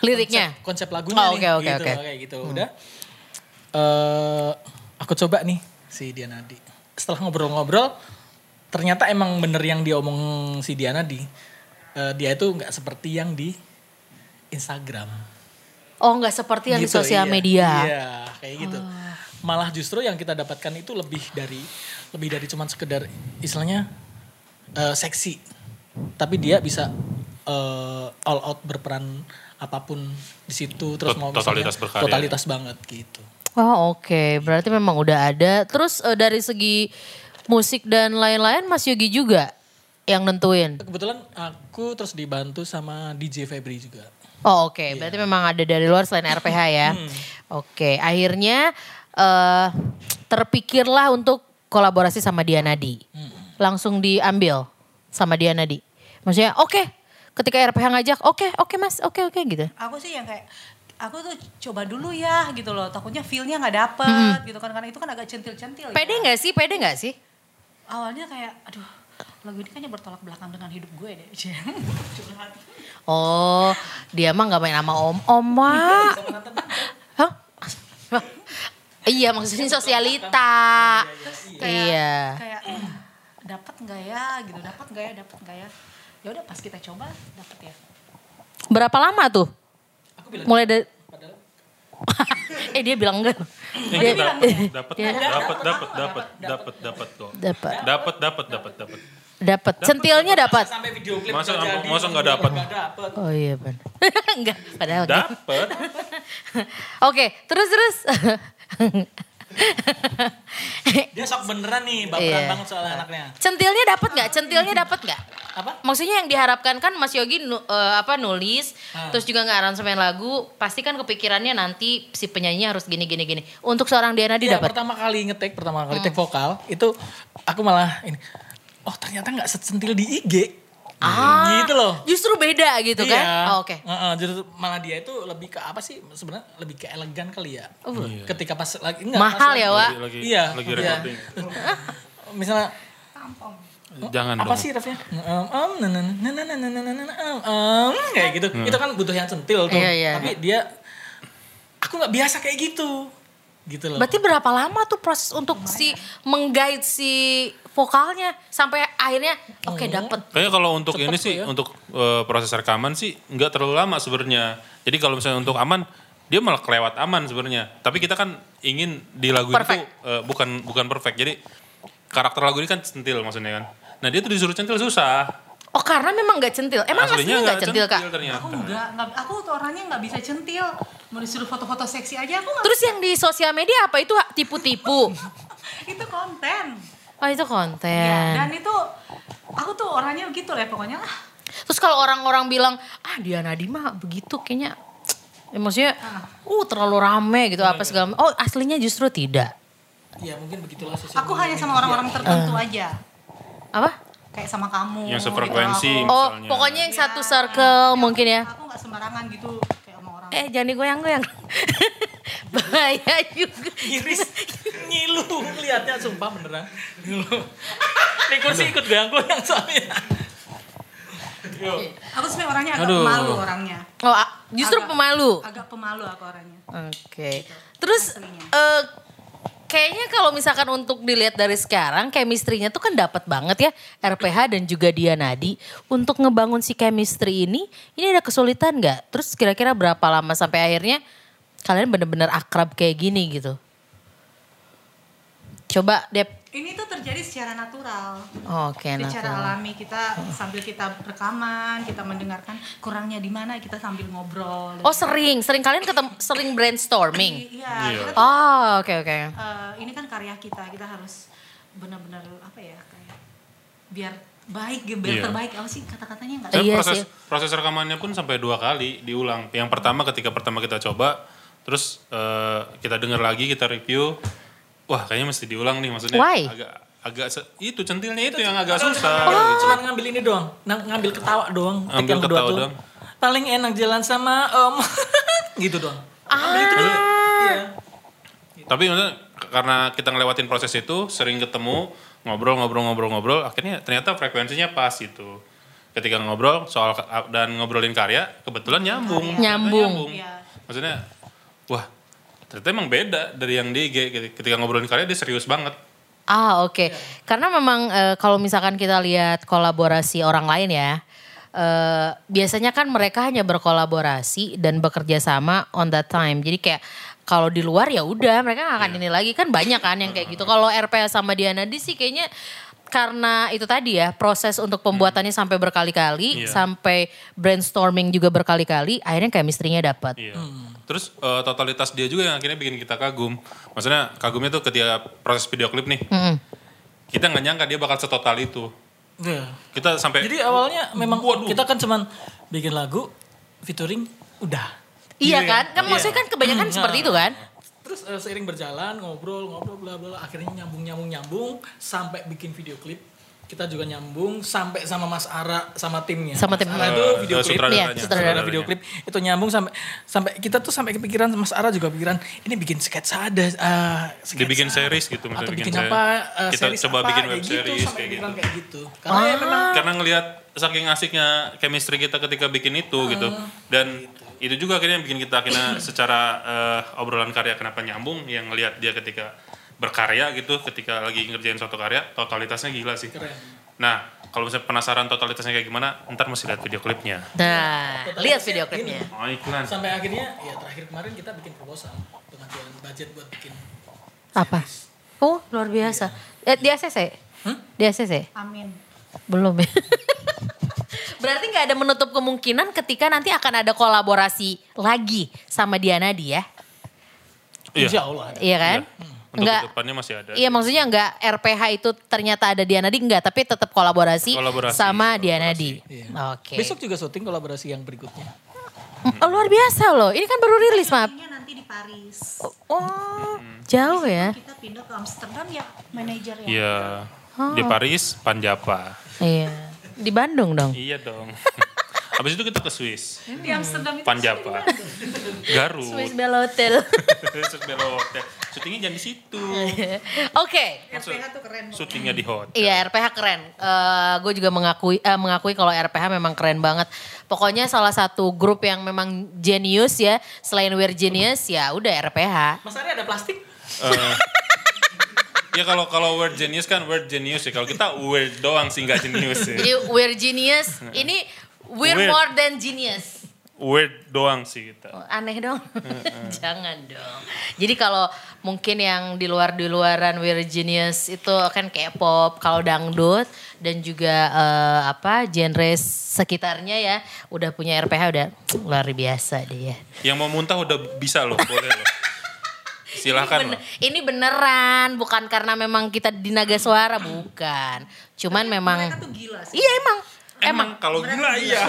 Liriknya?
konsep, konsep lagunya
Oh, oke,
nih.
oke, Hmm.
gitu,
oke.
kayak gitu. Udah eh aku coba nih si Dianadi. Setelah ngobrol-ngobrol, ternyata emang bener yang dia omong si Dianadi. Eh dia itu nggak seperti yang di Instagram.
Oh nggak seperti yang di
Gitu,
sosial
iya.
media. Oh.
Iya, kayak gitu. Malah justru yang kita dapatkan itu lebih dari lebih dari cuman sekedar istilahnya eh, seksi. Tapi dia bisa eh, all out berperan apapun di situ terus
Tot-
mau
totalitas
misalnya
berkarya.
totalitas banget gitu.
Oh oke, berarti memang udah ada. Terus eh, dari segi musik dan lain-lain Mas Yogi juga yang nentuin.
Kebetulan aku terus dibantu sama DJ Febri juga.
Oh oke,
Iya.
berarti memang ada dari luar selain RPH ya.
Hmm.
Oke, akhirnya eh terpikirlah untuk kolaborasi sama Dianadi.
Hmm.
Langsung diambil sama Dianadi. Maksudnya oke, ketika RPH ngajak oke oke Mas, oke oke gitu.
Aku sih yang kayak aku tuh coba dulu ya gitu loh. Takutnya feel-nya nggak dapet gitu kan karena itu kan agak centil-centil. ya.
Mm-hmm. Pede nggak sih? Pede nggak sih?
Awalnya kayak aduh lagu ini kayaknya bertolak belakang dengan hidup gue deh. Curhat.
Oh, dia mah nggak main sama om. Om Mak. Hah? Iya maksudnya sosialita.
Kayak-
Iya.
Kayak "Eh, dapat nggak ya gitu, dapat nggak ya, dapat nggak ya. Ya udah pas kita coba dapat ya.
Berapa lama tuh? Mulai dari eh dia bilang enggak.
Ini
Iya.
dapat
Dia-
dapat dapat dapat dapat dapat kok.
Dapat.
Dapat dapat dapat dapat.
Dapat. Centilnya dapat.
Sampai video klip
Masa masa nggak dapat?
Oh iya benar. enggak, padahal. enggak.
Dapat.
Oke, terus terus.
Dia sok beneran nih,
Iya.
baperan banget soal anaknya.
Centilnya dapat nggak? Centilnya dapat nggak?
Apa?
Maksudnya yang diharapkan kan Mas Yogi nu- eh, apa nulis,
Ah.
terus juga nggak aransemen lagu, pasti kan kepikirannya nanti si penyanyinya harus gini gini gini. Untuk seorang Diana
Iya,
didapat.
pertama kali ngetek, pertama
Hmm.
kali take vokal itu aku malah ini. Oh ternyata nggak secentil di IG.
Ah,
gitu loh.
Justru beda gitu kan?
Iya.
Oh, Oke.
Heeh, justru malah dia itu lebih ke apa sih? Sebenarnya lebih ke elegan kali ya. Ketika pas lagi enggak,
Oh,
pas
iya. Mahal ya,
lagi-
Wak.
Lagi lagi,
Iya.
lagi
iya.
recording.
Misalnya
Jangan Kan
apa
dong.
sih refnya? Um, um, na, na, na, na, na, na, na, na, na, um, um, kayak gitu.
Hmm.
Itu kan butuh yang centil tuh.
Iya, iya.
Tapi dia aku nggak biasa kayak gitu. Gitu loh.
Berarti berapa lama tuh proses untuk si menggait si vokalnya sampai akhirnya oke
Oh.
dapat.
Kayaknya kalau untuk ini sih,
ya.
untuk eh, proses rekaman sih nggak terlalu lama sebenarnya. Jadi kalau misalnya untuk aman, dia malah kelewat aman sebenarnya. Tapi kita kan ingin di lagu itu
Perfect.
eh, bukan bukan perfect. Jadi karakter lagu ini kan centil maksudnya kan. Nah dia tuh disuruh centil susah.
Oh karena memang nggak centil. Emang aslinya nggak centil, kak?
ternyata.
Aku nggak, nggak- aku tuh orangnya nggak bisa centil. Mau disuruh foto-foto seksi aja aku nggak.
Terus yang di sosial media apa itu tipu-tipu?
itu konten.
Oh itu konten.
Ya,
Iya.
dan itu aku tuh orangnya gitu lah pokoknya. Ah,
Terus kalau orang-orang bilang, ah Diana Dima begitu kayaknya. Ya, maksudnya, uh terlalu rame gitu apa segala macam. Oh aslinya justru tidak.
Iya, mungkin begitulah sosial
aku hanya sama orang-orang tertentu
Eh.
aja.
Apa?
Kayak sama kamu.
Yang sefrekuensi.
gitu. Aku-
Oh
Misalnya.
pokoknya yang satu
Ya,
circle
ya,
mungkin ya.
Aku nggak sembarangan gitu kayak sama orang.
Iya.
Eh jangan digoyang-goyang. Bahaya juga.
Iris ngilu lu lihatnya sumpah beneran. Lu. Ini kursi ikut goyang-goyang soalnya.
Aku sebenarnya orangnya agak
Aduh.
pemalu orangnya.
Oh, a- justru
Agak-
pemalu.
Agak pemalu aku orangnya.
Oke. Terus eh, kayaknya kalau misalkan untuk dilihat dari sekarang chemistry-nya tuh kan dapat banget ya RPH dan juga dia Nadi untuk ngebangun si chemistry ini ini ada kesulitan nggak? Terus kira-kira berapa lama sampai akhirnya kalian bener-bener akrab kayak gini gitu? Coba Dep.
Ini tuh terjadi secara natural.
Oke, nah.
secara alami kita sambil kita rekaman, kita mendengarkan kurangnya di mana, kita sambil ngobrol.
Oh sering, sering kalian ketemu, sering brainstorming.
Iya, kita tuh,
Oh oke oke.
eh, ini kan karya kita, kita harus benar-benar apa ya kayak biar baik, biar
Iya. Eh.
terbaik. Apa sih kata-katanya enggak?
Tapi
Iya
proses
sih.
proses rekamannya pun sampai dua kali diulang. Yang pertama ketika pertama kita coba, terus eh, kita dengar lagi, kita review. Wah, kayaknya mesti diulang nih maksudnya.
Why?
Agak agak se- itu centilnya itu yang agak susah. gitu.
Cuma ngambil ini doang, ng- ngambil ketawa doang. take
Ambil
yang kedua
ketawa
tuh.
doang.
Paling enak jalan sama om. gitu doang.
Tapi maksudnya karena kita ngelewatin proses itu, sering ketemu, ngobrol-ngobrol-ngobrol-ngobrol, akhirnya ternyata frekuensinya pas gitu. Ketika ngobrol soal dan ngobrolin karya, kebetulan nyambung.
Nyambung.
Iya.
Maksudnya, wah ternyata emang beda dari yang di IG. Ketika ngobrolin karya dia serius banget.
Ah oke, karena memang eh, kalau misalkan kita lihat kolaborasi orang lain ya, eh, biasanya kan mereka hanya berkolaborasi dan bekerja sama on that time. Jadi kayak kalau di luar ya udah mereka nggak akan ini lagi kan banyak kan yang kayak gitu. Kalau RPA sama Diana di sih kayaknya karena itu tadi ya proses untuk pembuatannya sampai berkali-kali,
Iya.
sampai brainstorming juga berkali-kali, akhirnya chemistry-nya dapat.
Iya.
Hmm.
Terus eh, totalitas dia juga yang akhirnya bikin kita kagum. Maksudnya kagumnya tuh ketika proses video klip nih,
Mm-mm.
kita nggak nyangka dia bakal setotal itu.
Iya.
Kita sampai eh,
Jadi awalnya memang kita kan cuman bikin lagu, featuring, udah.
Iya kan, kan maksudnya kan kebanyakan seperti itu kan.
Terus eh, seiring berjalan ngobrol ngobrol bla bla bla, akhirnya nyambung nyambung nyambung sampai bikin video klip kita juga nyambung sampai sama Mas Ara sama timnya.
Sama
Mas
tim.
Ara
Eh,
itu
eh,
video klip. ya,
sutradaranya.
Iya, sutradara.
Saudara video klip itu nyambung sampai sampai kita tuh sampai kepikiran Mas Ara juga pikiran ini bikin sketsa ada eh, sketsa
Dibikin series gitu, maksudnya
atau bikin,
bikin
apa
series.
eh,
Kita
series
coba
apa,
bikin
kayak
web
gitu,
series,
sampai
kayak
pikiran
gitu.
kayak gitu. Karena ya memang
karena ngelihat saking asiknya chemistry kita ketika bikin itu gitu dan itu juga akhirnya yang bikin kita akhirnya secara eh, obrolan karya kenapa nyambung yang ngelihat dia ketika berkarya gitu ketika lagi ngerjain suatu karya totalitasnya gila sih nah kalau misalnya penasaran totalitasnya kayak gimana ntar mesti lihat video klipnya
Nah, lihat video klipnya.
oh iklan
sampai akhirnya ya terakhir kemarin kita bikin proposal dengan jalan budget buat bikin
Apa? Oh, luar biasa. Eh, di ACC? Di ACC?
Amin.
Belum ya. Berarti nggak ada menutup kemungkinan ketika nanti akan ada kolaborasi lagi sama Diana dia,
iya
Insya Allah ada.
iya kan?
untuk
Enggak.
depannya masih ada
Iya maksudnya enggak RPH itu ternyata ada Diana Di enggak, tapi tetap kolaborasi,
Kolaborasi,
sama Diana Di.
Iya.
Oke.
Besok juga syuting kolaborasi yang berikutnya.
Mm, luar biasa loh. Ini kan baru rilis, Map.
Ini nanti di Paris.
Oh, jauh ya.
Kita pindah ke Amsterdam ya, manajer ya.
iya
Oh.
di Paris Panjapa
Iya. Di Bandung dong.
iya dong habis itu kita ke Swiss
Di Amsterdam itu
Panjapa Garut
Swiss Bella Hotel.
Terus belok hotel. Syutingnya jangan di situ.
Iya, Oke.
RPH tuh keren.
Syutingnya di hotel.
Iya RPH keren. Eh gue juga mengakui eh, mengakui kalau RPH memang keren banget. Pokoknya salah satu grup yang memang genius ya. Selain We're Genius ya udah RPH.
Mas Ari ada plastik?
Eh, Ya kalau kalau word genius kan word genius ya. Kalau kita weird doang sih nggak genius ya.
Jadi We're Genius ini We're
Weird.
more than genius.
Weird doang sih kita.
Oh, Aneh dong. Jangan dong. Jadi kalau mungkin yang di luar di luaran We're Genius itu kan K-pop, kalau dangdut dan juga eh, apa genre sekitarnya ya udah punya RPH udah luar biasa ya. dia.
Yang mau muntah udah bisa loh, boleh loh. Silahkan
Bener-
loh.
ini beneran bukan karena memang kita di naga suara bukan. Cuman memang
Mereka tuh gila sih.
iya emang emang
Emang kalau gila iya.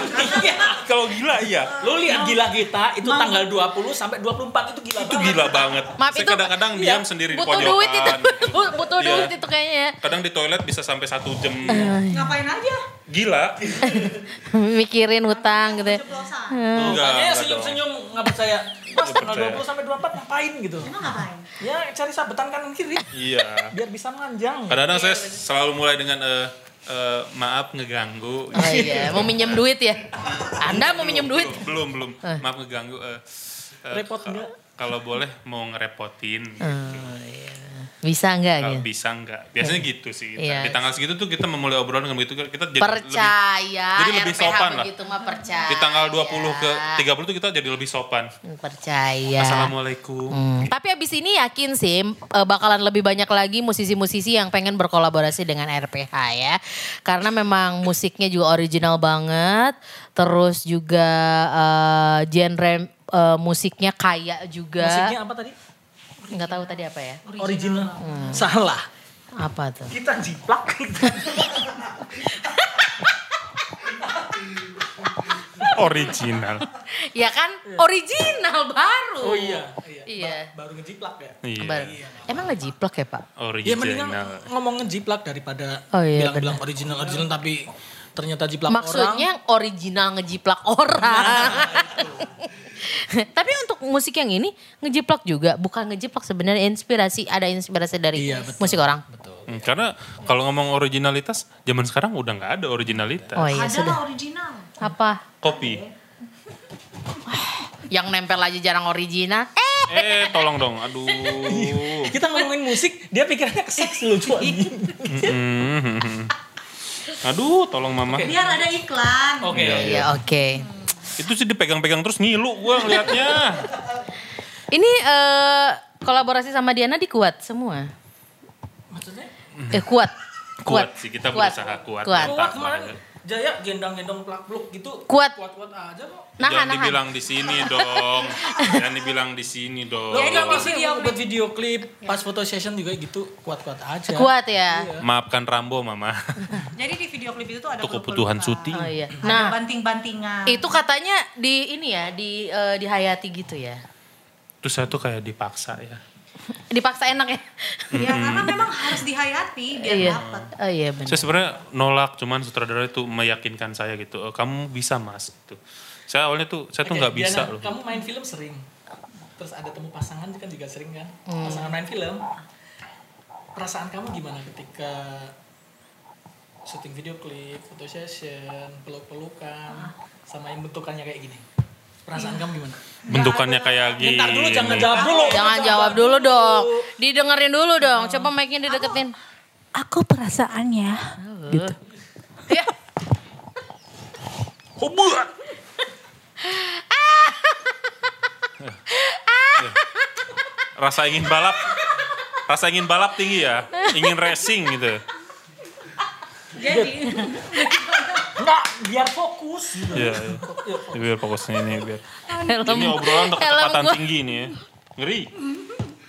Kalau gila iya.
Lu lihat gila kita itu tanggal 20 sampai 24 itu gila
Itu gila banget.
Maaf,
Saya
itu-
kadang-kadang
iya,
diam sendiri di
butuh
pojokan.
duit itu butuh
Iya.
duit itu kayaknya. ya. Iya.
Kadang di toilet bisa sampai satu jam.
Ngapain aja?
Gila.
mikirin hutang gitu ya.
Enggak,
Tanya
enggak dong.
senyum-senyum nggak percaya. Mas
Nggak
tanggal
percaya.
20 sampai 24 ngapain gitu? Emang ngapain? Ya cari sabetan kanan kiri
Iya.
biar bisa manjang.
Kadang-kadang saya selalu mulai dengan eh eh, maaf ngeganggu.
Oh iya, mau minjem duit ya? Anda mau minjem duit?
Belum, belum. belum. Maaf ngeganggu. eh, eh,
Repot
ka-
nggak?
Kalau boleh mau ngerepotin.
Eh, iya. Oh, Bisa enggak
Kalau
gitu?
bisa nggak? Biasanya gitu sih. kita.
Iya.
Di tanggal segitu tuh kita memulai obrolan dengan begitu. Kita jadi lebih-
Percaya,
jadi lebih
RPH
sopan lah.
begitu mah percaya.
di tanggal 20 ke
Iya.
30 tuh kita jadi lebih sopan.
Percaya. Iya.
Assalamualaikum.
Hmm. Tapi abis ini yakin sih eh, bakalan lebih banyak lagi musisi-musisi yang pengen berkolaborasi dengan RPH ya. Karena memang musiknya juga original banget. Terus juga eh, genre eh, musiknya kaya juga.
Musiknya apa tadi?
Nggak tahu tadi apa ya.
Original. Salah.
Apa tuh?
Kita jiplak.
Original.
Ya kan original baru.
oh iya. iya.
Iya.
Ba- baru ngejiplak ya.
Baru.
Iya.
Emang ngejiplak ya pak?
Ya mendingan
Original.
ngomong ngejiplak daripada
Oh iya,
bilang-bilang original original tapi ternyata jiplak orang.
Maksudnya original ngejiplak orang. Tapi untuk musik yang ini ngejiplak juga, bukan ngejiplak sebenarnya inspirasi ada inspirasi dari
Iya, betul.
musik orang.
Hmm, Karena kalau ngomong originalitas, zaman sekarang udah nggak ada originalitas.
Oh iya sudah.
original.
Apa?
Kopi.
Yang nempel aja jarang original. Eh,
Eh, tolong dong. Aduh. Iya.
Kita ngomongin musik, dia pikirannya ke seks lucu anjing.
Hmm. Aduh, tolong mama.
Biar ada iklan.
Oh.
Oke.
iya oke.
Itu sih dipegang-pegang terus ngilu gua ngeliatnya.
Ini eh, kolaborasi sama Diana di kuat semua.
Maksudnya?
Eh kuat.
Kuat sih, kita berusaha
Kuat.
kuat. Kuat.
Kuat kemarin Jaya gendang-gendong plak-pluk gitu.
Kuat.
Kuat-kuat aja kok.
Nahan,
Jangan
nahan.
dibilang di sini dong. Jangan dibilang di sini dong.
Lo enggak masih dia buat video klip, pas foto session juga gitu kuat-kuat aja.
Kuat ya.
Maafkan Rambo, Mama.
Jadi di video klip itu tuh ada
Itu
peluk-pelukan.
kebutuhan syuting.
Oh iya.
Ada
Nah,
banting-bantingan.
itu katanya di ini ya, di eh, di Hayati gitu ya.
Terus saya tuh kayak dipaksa ya.
Dipaksa enak ya.
Ya
Hmm.
karena memang harus dihayati biar
iya.
dapat.
Oh iya benar.
Saya sebenarnya nolak, cuman sutradara itu meyakinkan saya gitu. "E, Kamu bisa mas. Gitu. Saya awalnya tuh, saya tuh
Oke,
nggak
Diana,
bisa loh.
Kamu main film sering. Terus ada temu pasangan kan juga sering kan? Pasangan main film. Perasaan kamu gimana ketika syuting video klip, foto session, peluk-pelukan, sama yang bentukannya kayak gini? Perasaan kamu gimana?
Bentukannya kayak gini.
Bentar dulu jangan
iya.
jawab dulu.
Iya. Jangan jawab dulu dong. Didengerin dulu dong. Coba mic-nya dideketin.
Aku perasaannya.
Ya.
Hubungan.
Rasa ingin balap, rasa ingin balap tinggi ya. Ingin racing gitu.
Jadi
Enggak, biar fokus gitu.
Iya. iya. Ini Biar fokusnya ini biar.
Helm.
Ini obrolan untuk
helm
kecepatan
gua.
tinggi nih ya. Ngeri.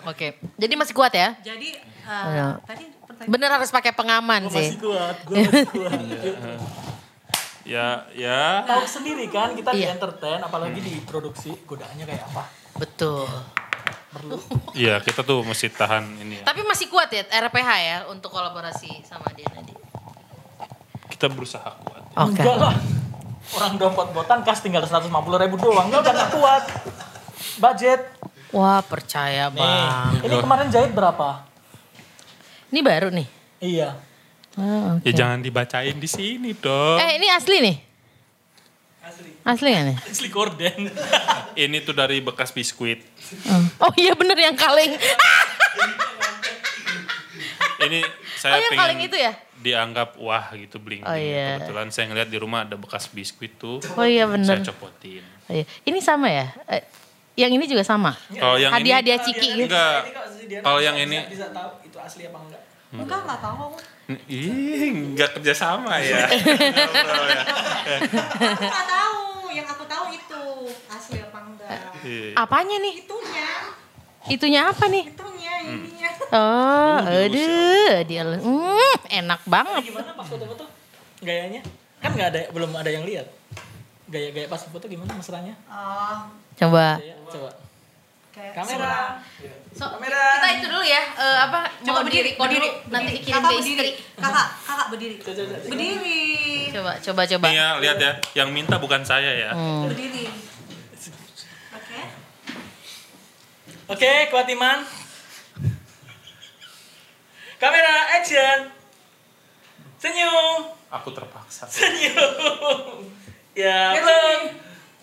Oke. Jadi masih kuat ya?
jadi eh,
Iya.
tadi pertanyaan
Bener harus pakai pengaman sih.
kuat, gue masih kuat.
Iya. Ya, ya.
Tahu sendiri kan kita di
Iya.
entertain, apalagi di produksi godaannya kayak apa?
Betul.
Iya, kita tuh mesti tahan ini ya.
Tapi masih kuat ya RPH ya untuk kolaborasi sama dia tadi.
Kita berusaha kuat.
Oke.
Enggak lah. Orang dompet-botan kas tinggal 150 ribu doang. Dia udah gak kuat. Budget.
Wah, percaya
Nih,
Bang.
ini kemarin jahit berapa?
Ini baru nih.
Iya.
Oh, oke.
Ya jangan dibacain di sini dong.
Eh, ini asli nih.
Asli.
Asli gak nih?
Asli gorden.
Ini tuh dari bekas biskuit.
Ah.
Oh iya bener yang kaleng.
Ini saya
Oh, yang
pengen
paling itu ya?
dianggap wah gitu bling.
Oh, iya.
Kebetulan saya ngeliat di rumah ada bekas biskuit tuh.
Oh iya
Saya
bener.
copotin.
Oh, iya. Ini sama ya? Eh, Yang ini juga sama?
Kalau yang ini
Hadiah-hadiah ciki gitu.
enggak.
Nah,
Kalau yang
bisa-
ini
Bisa tahu itu asli apa enggak.
enggak enggak tahu aku.
ih enggak kerja sama ya.
Aku enggak tahu. Yang aku tahu itu asli apa enggak.
Eh.
Iya.
Apanya nih?
Itunya,
Itunya apa nih?
itunya
Hmm.
ininya.
Oh, aduh, dia mm, enak banget.
Gimana pas foto-foto? Gayanya? Kan enggak ada belum ada yang lihat. Gaya-gaya pas foto gimana mesranya?
Oh,
Coba.
Jaya, coba.
kayak
Kamera.
So, kita itu dulu ya, eh, apa? Coba berdiri, kok dulu nanti dikirim
kakak
ke
berdiri.
istri.
Kakak, kakak berdiri.
coba, coba.
Berdiri.
Coba, coba, coba.
Nih ya, lihat ya. Yang minta bukan saya ya.
Hmm.
Berdiri. Oke.
Oke, Kuatiman. Kamera action. Senyum,
Aku terpaksa.
senyum. Ya,
Yes,
belum.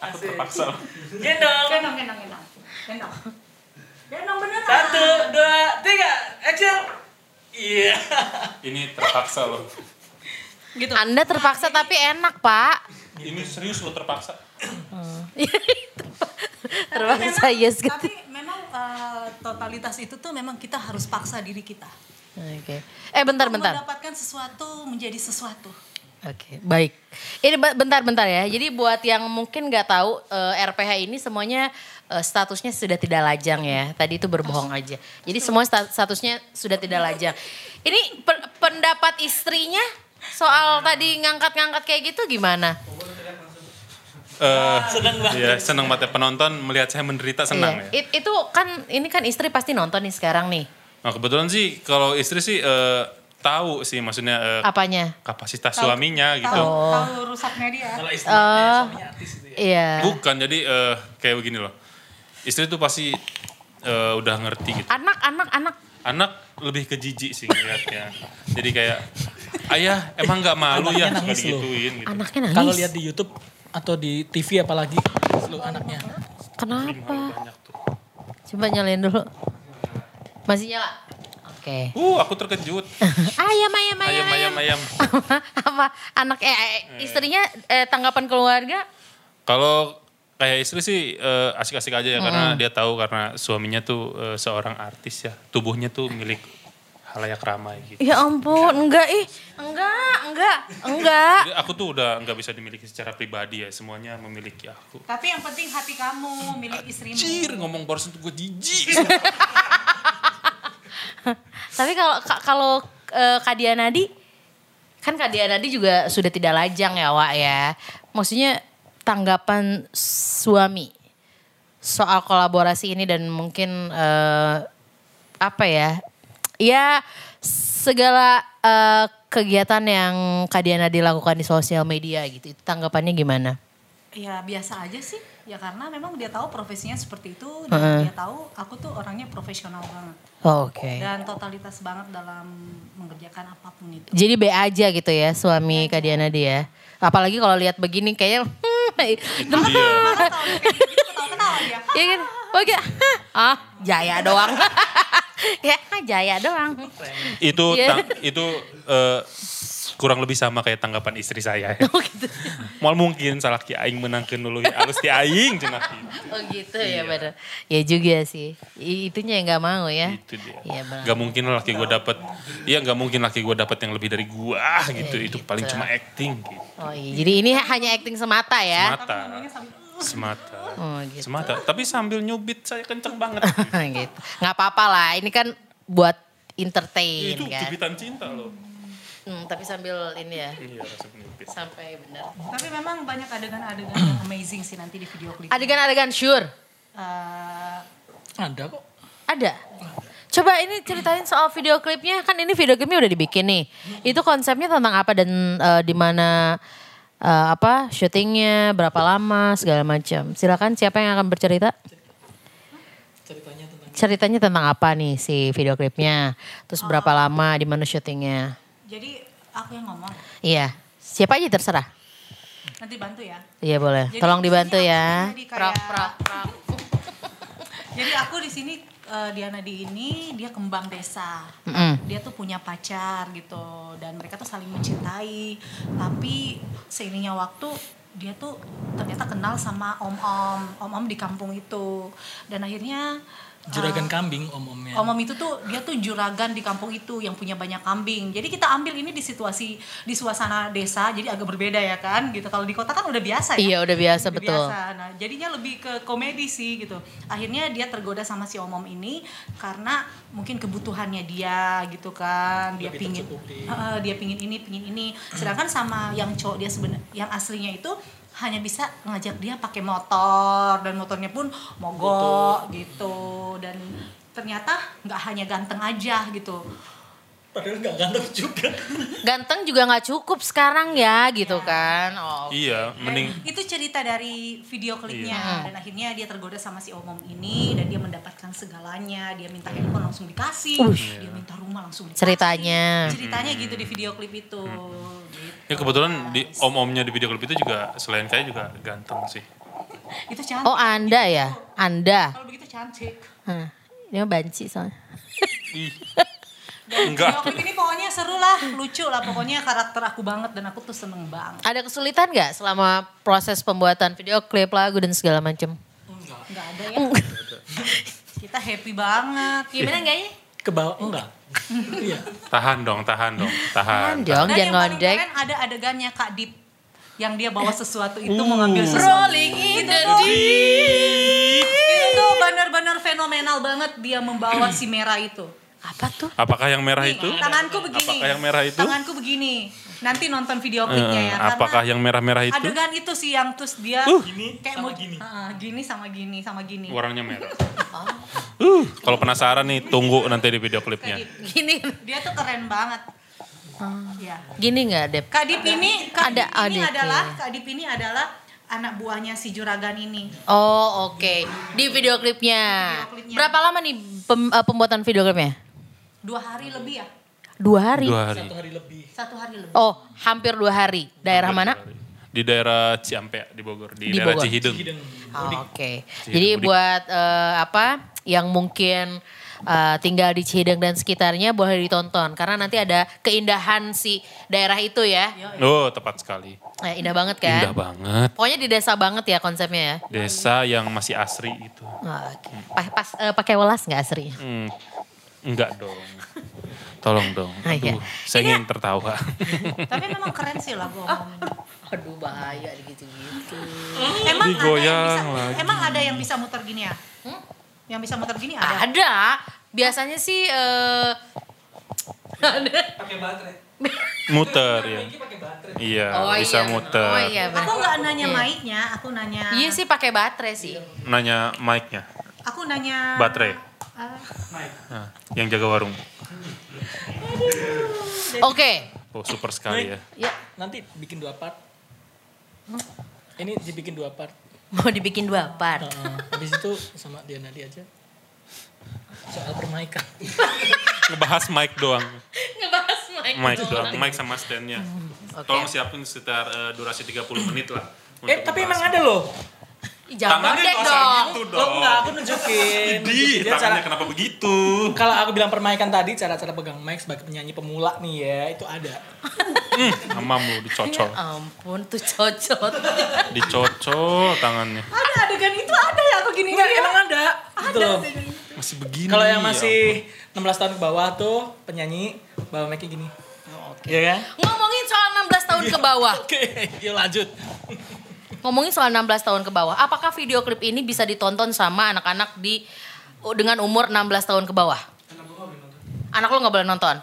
Aku terpaksa.
Gendong.
Gendong, gendong, gendong. Gendong. Gendong beneran.
Satu, dua, tiga, action. Iya.
Ini terpaksa loh.
Gitu.
Anda terpaksa tapi enak, Pak.
Ini serius lo terpaksa.
Hmm. terpaksa yes gitu.
Tapi memang eh, totalitas itu tuh memang kita harus paksa diri kita.
Oke. Eh bentar bentar.
Mendapatkan sesuatu menjadi sesuatu.
Oke, baik. Ini be- bentar-bentar ya. Jadi buat yang mungkin nggak tahu eh, RPH ini semuanya eh, statusnya sudah tidak lajang ya. Tadi itu berbohong aja. Jadi semua sta- statusnya sudah tidak lajang. Ini pe- pendapat istrinya soal tadi ngangkat-ngangkat kayak gitu gimana?
Eh,
Seneng banget.
Iya, seneng banget ya. penonton melihat saya menderita senang
Iya.
ya.
It- itu kan ini kan istri pasti nonton nih sekarang nih.
Nah, kebetulan sih kalau istri sih eh, tahu sih maksudnya eh,
Apanya?
kapasitas suaminya gitu.
Tahu, tahu rusaknya dia.
Kalau istri,
Oh.
suami artis itu ya.
Iya.
Bukan, jadi eh, kayak begini loh. Istri tuh pasti eh, udah ngerti gitu.
Anak anak anak
Anak lebih ke jijik sih ngeliatnya. jadi kayak, ayah emang nggak malu ya
Anaknya
suka
nangis loh.
digituin gitu.
anaknya nangis.
Kalau lihat di YouTube atau di TV apalagi, seluruh anaknya.
Kenapa? Coba nyalain dulu. Masih nyala? Oke.
Uh, aku terkejut.
ayam, ayam, ayam,
Ayam, ayam, ayam.
Apa anak eh, eh, istrinya eh, tanggapan keluarga?
Kalau kayak istri sih eh, asik-asik aja ya karena dia tahu karena suaminya tuh eh, seorang artis ya. Tubuhnya tuh milik halayak ramai gitu.
Ya ampun, enggak ih, enggak, enggak, enggak.
Jadi aku tuh udah nggak bisa dimiliki secara pribadi ya. Semuanya memiliki aku.
Tapi yang penting hati kamu milik istrimu.
Anjir, ngomong barusan tuh gue jijik.
Tapi kalau ka- kalau eh, Kak Dia Nadi kan Kak Dia Nadi juga sudah tidak lajang ya, Wak ya. Maksudnya tanggapan suami soal kolaborasi ini dan mungkin eh, apa ya? Ya segala eh, kegiatan yang Kak Dia Nadi lakukan di sosial media gitu. Itu tanggapannya gimana?
Ya biasa aja sih. Ya karena memang dia tahu profesinya seperti itu. Dan dia tahu aku tuh orangnya profesional banget.
Oh, Oke.
Dan totalitas banget dalam mengerjakan apapun itu.
Jadi B aja gitu ya suami Kak Dia Nadi ya. Apalagi kalau lihat begini kayaknya hmm,
Tahu kayak gitu, Ketawa-ketawa dia.
Iya kan? Oke. Hah. Ah, jaya doang. ya, ah, jaya doang.
itu
Iya.
tang- itu eh, kurang lebih sama kayak tanggapan istri saya. Ya. Mal mungkin salah ki aing menangkeun dulu ya. Alus ti aing cenah.
Oh gitu
Iya.
ya bener. Ya juga sih. I- Itunya yang gak mau ya.
Itu Gitu dia.
Iya bener.
Gak mungkin lah laki gue dapet, iya gak mungkin laki gue dapet yang lebih dari gua gitu.
Iya,
Itu
gitu.
paling cuma acting gitu.
Oh iya. Jadi ini hanya acting semata ya.
Semata. Semata.
Oh gitu.
Semata. Tapi sambil nyubit saya kenceng banget.
gitu. Gak apa-apa lah. Ini kan buat entertain
itu
kan.
cubitan cinta loh.
Hmm, tapi sambil ini ya.
Iya rasa nyubit.
Sampai bener.
Tapi memang banyak adegan-adegan yang amazing sih nanti di video klip.
Adegan-adegan sure.
Eh,
Ada kok.
Ada. Coba ini ceritain soal video klipnya. Kan ini video klipnya udah dibikin nih. Itu konsepnya tentang apa dan eh, di mana eh, apa syutingnya, berapa lama, segala macam. Silakan siapa yang akan bercerita?
Ceritanya tentang
Ceritanya tentang apa nih si video klipnya? Terus berapa lama, di mana syutingnya?
jadi aku yang ngomong.
Iya. Siapa aja terserah.
Nanti bantu ya.
Iya boleh.
Jadi
Tolong
di sini
dibantu
aku
ya.
jadi kayak-
Prok, prok, prok.
Jadi aku di sini eh, Diana di ini dia kembang desa.
Mm-mm.
Dia tuh punya pacar gitu dan mereka tuh saling mencintai. Tapi seiringnya waktu dia tuh ternyata kenal sama om-om, om-om di kampung itu. Dan akhirnya
juragan kambing om-omnya.
Om Om itu tuh dia tuh juragan di kampung itu yang punya banyak kambing. Jadi kita ambil ini di situasi di suasana desa, jadi agak berbeda ya kan? Gitu. Kalau di kota kan udah biasa
Iya
ya.
udah biasa
Udah
betul.
biasa. Nah, jadinya lebih ke komedi sih gitu. Akhirnya dia tergoda sama si Om Om ini karena mungkin kebutuhannya dia gitu kan. Dia
Lebih
pingin
tercukupi.
Heeh, dia pingin ini, pingin ini. Sedangkan sama yang cowok dia sebenarnya yang aslinya itu hanya bisa ngajak dia pakai motor dan motornya pun mogok gitu dan ternyata nggak hanya ganteng aja gitu
Padahal nggak ganteng juga.
Ganteng juga nggak cukup sekarang ya gitu kan. Oh.
Iya, mending
itu cerita dari video klipnya
Iya.
dan akhirnya dia tergoda sama si omom ini dan dia mendapatkan segalanya dia minta handphone langsung dikasih
Iya.
dia minta rumah langsung dikasih
Ceritanya.
ceritanya gitu di video klip itu gitu.
Hmm. Ya kebetulan di om-omnya di video klip itu juga selain kayak juga ganteng sih.
itu cantik Gitu.
Oh Anda ya? Anda.
kalau begitu cantik
Hah. Hmm. Dia banci soalnya.
dan
Enggak.
video klip ini pokoknya seru lah lucu lah pokoknya karakter aku banget dan aku tuh seneng banget
Ada kesulitan nggak selama proses pembuatan video klip lagu dan segala macam?
nggak ada ya kita happy banget
Iya.
gimana nggak ya
Ke bawah enggak. Iya.
Tahan dong, tahan dong, tahan.
dong,
dan yang
jangan
paling
ngondek.
keren ada adegannya kak Dip yang dia bawa sesuatu itu mengambil sesuatu
Rolling in the
itu benar-benar fenomenal banget dia membawa si merah itu.
Apa tuh?
Apakah yang merah Nah, itu?
Tanganku begini.
Apakah yang merah itu?
Tanganku begini. Nanti nonton video klipnya
Eh,
ya.
apakah yang merah-merah itu? Uh.
Adegan itu sih yang terus dia
Gini
kayak
sama
mau-
gini.
Ah, gini sama gini sama gini.
Warnanya merah. Uh, kalau penasaran nih tunggu nanti di video klipnya.
Gini,
Gitu. Dia tuh keren banget. Ya.
gini nggak Dep?
Kak Dip ini,
Hmm.
Kak
Ada iya.
Dip ini
adiknya.
adalah Kak Dip ini adalah anak buahnya si juragan ini.
Oh oke, di video klipnya.
Video klipnya.
Berapa lama nih pem- eh, pembuatan video klipnya?
Dua hari lebih ya?
Dua hari.
Dua hari.
Satu hari lebih.
Iya.
Satu hari lebih.
Oh hampir dua hari. Daerah mana?
Di daerah Ciampea di Bogor, di,
Di
daerah
Bogor.
Cihideng.
Hidden.
Oh, Oke. Jadi buat eh, apa yang mungkin eh, tinggal di Cihideng dan sekitarnya boleh ditonton karena nanti ada keindahan si daerah itu ya.
Oh, tepat sekali.
Eh, indah banget kan?
Indah banget.
Pokoknya di desa banget ya konsepnya ya.
Desa yang masih asri itu.
Oh, Oke. Pa- pas eh, pakai welas nggak asri?
Hmm, enggak dong. Tolong dong.
Ah, iya.
Aduh, saya ingin tertawa.
Tapi memang keren sih lagu omongnya.
Aduh bahaya gitu-gitu.
Emang
Digoyang
ada yang
lagi.
bisa, emang ada yang bisa muter gini ya? Hmm? Yang bisa muter gini ada.
Ada. Biasanya sih eh ada.
Pakai baterai.
muter ya. Iya,
Oh,
bisa
iya, bener.
muter.
Oh iya
Aku
bener.
nggak nanya mic-nya, aku nanya.
Iya sih pakai baterai sih.
Nanya mic-nya,
Aku nanya.
baterai,
Ah,
Nah, yang jaga warung.
Oke.
Oh, super sekali ya.
Ya,
Nanti bikin dua part. Ini dibikin dua part.
mau dibikin dua part.
Heeh. habis itu sama dia Nadi aja. Soal permaikan.
Ngebahas mic doang.
Ngebahas mic.
Mic doang, mic sama stand-nya.
Oke.
Tolong siapin sekitar eh, durasi 30 menit lah. untuk
Hmm. eh tapi emang
ngebahas.
ada loh.
Ih, Jangan
Tangannya
ngondek
nggak usah
dong.
gitu
Lo
dong.
enggak, aku nunjukin.
Di,
Nunjukin dia cara
tangannya kenapa begitu?
kalau aku bilang permaikan tadi cara-cara pegang mic sebagai penyanyi pemula nih ya, itu ada.
Amam lu dicocok.
Ya
Iya.
ampun tuh cocot.
Dicocok tangannya.
ada adegan itu ada ya aku gini.
Enggak, emang ada. Gitu loh.
Masih begini.
Kalau
ya
yang masih 16 tahun ke bawah tuh penyanyi bawa mic-nya gini. Oke. Iya kan?
Ngomongin soal 16
Iya.
tahun ke bawah.
Oke, yuk lanjut.
Ngomongin soal 16 tahun ke bawah. Apakah video klip ini bisa ditonton sama anak-anak di oh, dengan umur 16 tahun ke bawah? Anak lo nggak boleh nonton.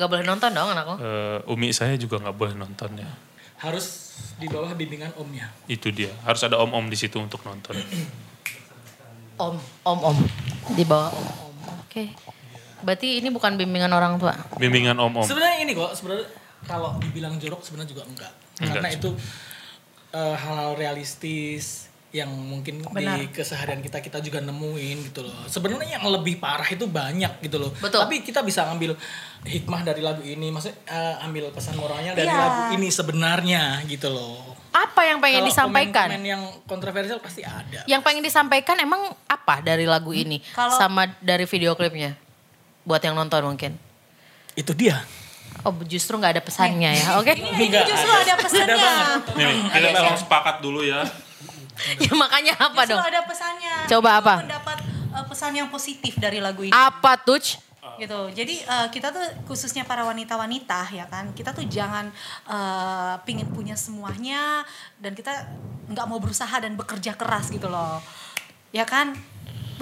Nggak boleh nonton dong anak lo.
Eh, umi saya juga nggak boleh nonton ya.
Harus di bawah bimbingan omnya.
Itu dia. Harus ada om-om di situ untuk nonton.
Om, om, om. Di bawah om, om. Oke. Berarti ini bukan bimbingan orang tua.
Bimbingan om-om.
Sebenarnya ini kok, sebenarnya kalau dibilang jorok sebenarnya juga enggak. Karena itu eh, hal-hal realistis yang mungkin di keseharian kita kita juga nemuin gitu loh. Sebenarnya yang lebih parah itu banyak gitu loh.
Betul.
Tapi kita bisa ambil hikmah dari lagu ini, maksudnya eh, ambil pesan moralnya dari
Iya.
lagu ini sebenarnya gitu loh.
Apa yang pengen
Kalau
disampaikan?
Komen-komen yang kontroversial pasti ada.
Yang pengen disampaikan emang apa dari lagu ini
Kalau-
sama dari video klipnya? Buat yang nonton mungkin.
Itu dia.
Oh justru nggak ada pesannya ya, oke?
Ini justru ada pesannya.
Nih, nih, kita memang sepakat dulu ya.
ya makanya apa
Justru
dong?
ada pesannya.
Coba
Itu
apa?
Mendapat eh, pesan yang positif dari lagu ini.
Apa tuh?
gitu jadi eh, kita tuh khususnya para wanita-wanita ya kan kita tuh jangan eh, pingin punya semuanya dan kita nggak mau berusaha dan bekerja keras gitu loh ya kan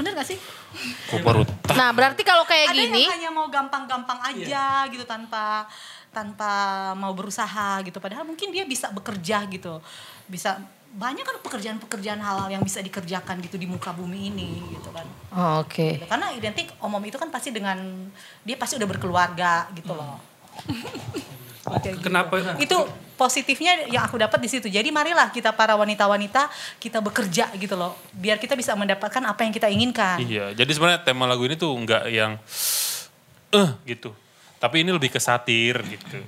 bener gak sih
Kok perut.
Nah berarti kalau kayak
ada
gini,
yang hanya mau gampang-gampang aja gitu tanpa tanpa mau berusaha gitu padahal mungkin dia bisa bekerja gitu bisa banyak kan pekerjaan-pekerjaan halal yang bisa dikerjakan gitu di muka bumi ini gitu kan
Oh, Oke.
Gitu. karena identik om om itu kan pasti dengan dia pasti udah berkeluarga gitu loh
Hmm.
Kayak gitu.
Kenapa?
itu positifnya yang aku dapat di situ jadi marilah kita para wanita-wanita kita bekerja gitu loh biar kita bisa mendapatkan apa yang kita inginkan
Iya, jadi sebenarnya tema lagu ini tuh nggak yang eh gitu. Tapi ini lebih ke satir gitu.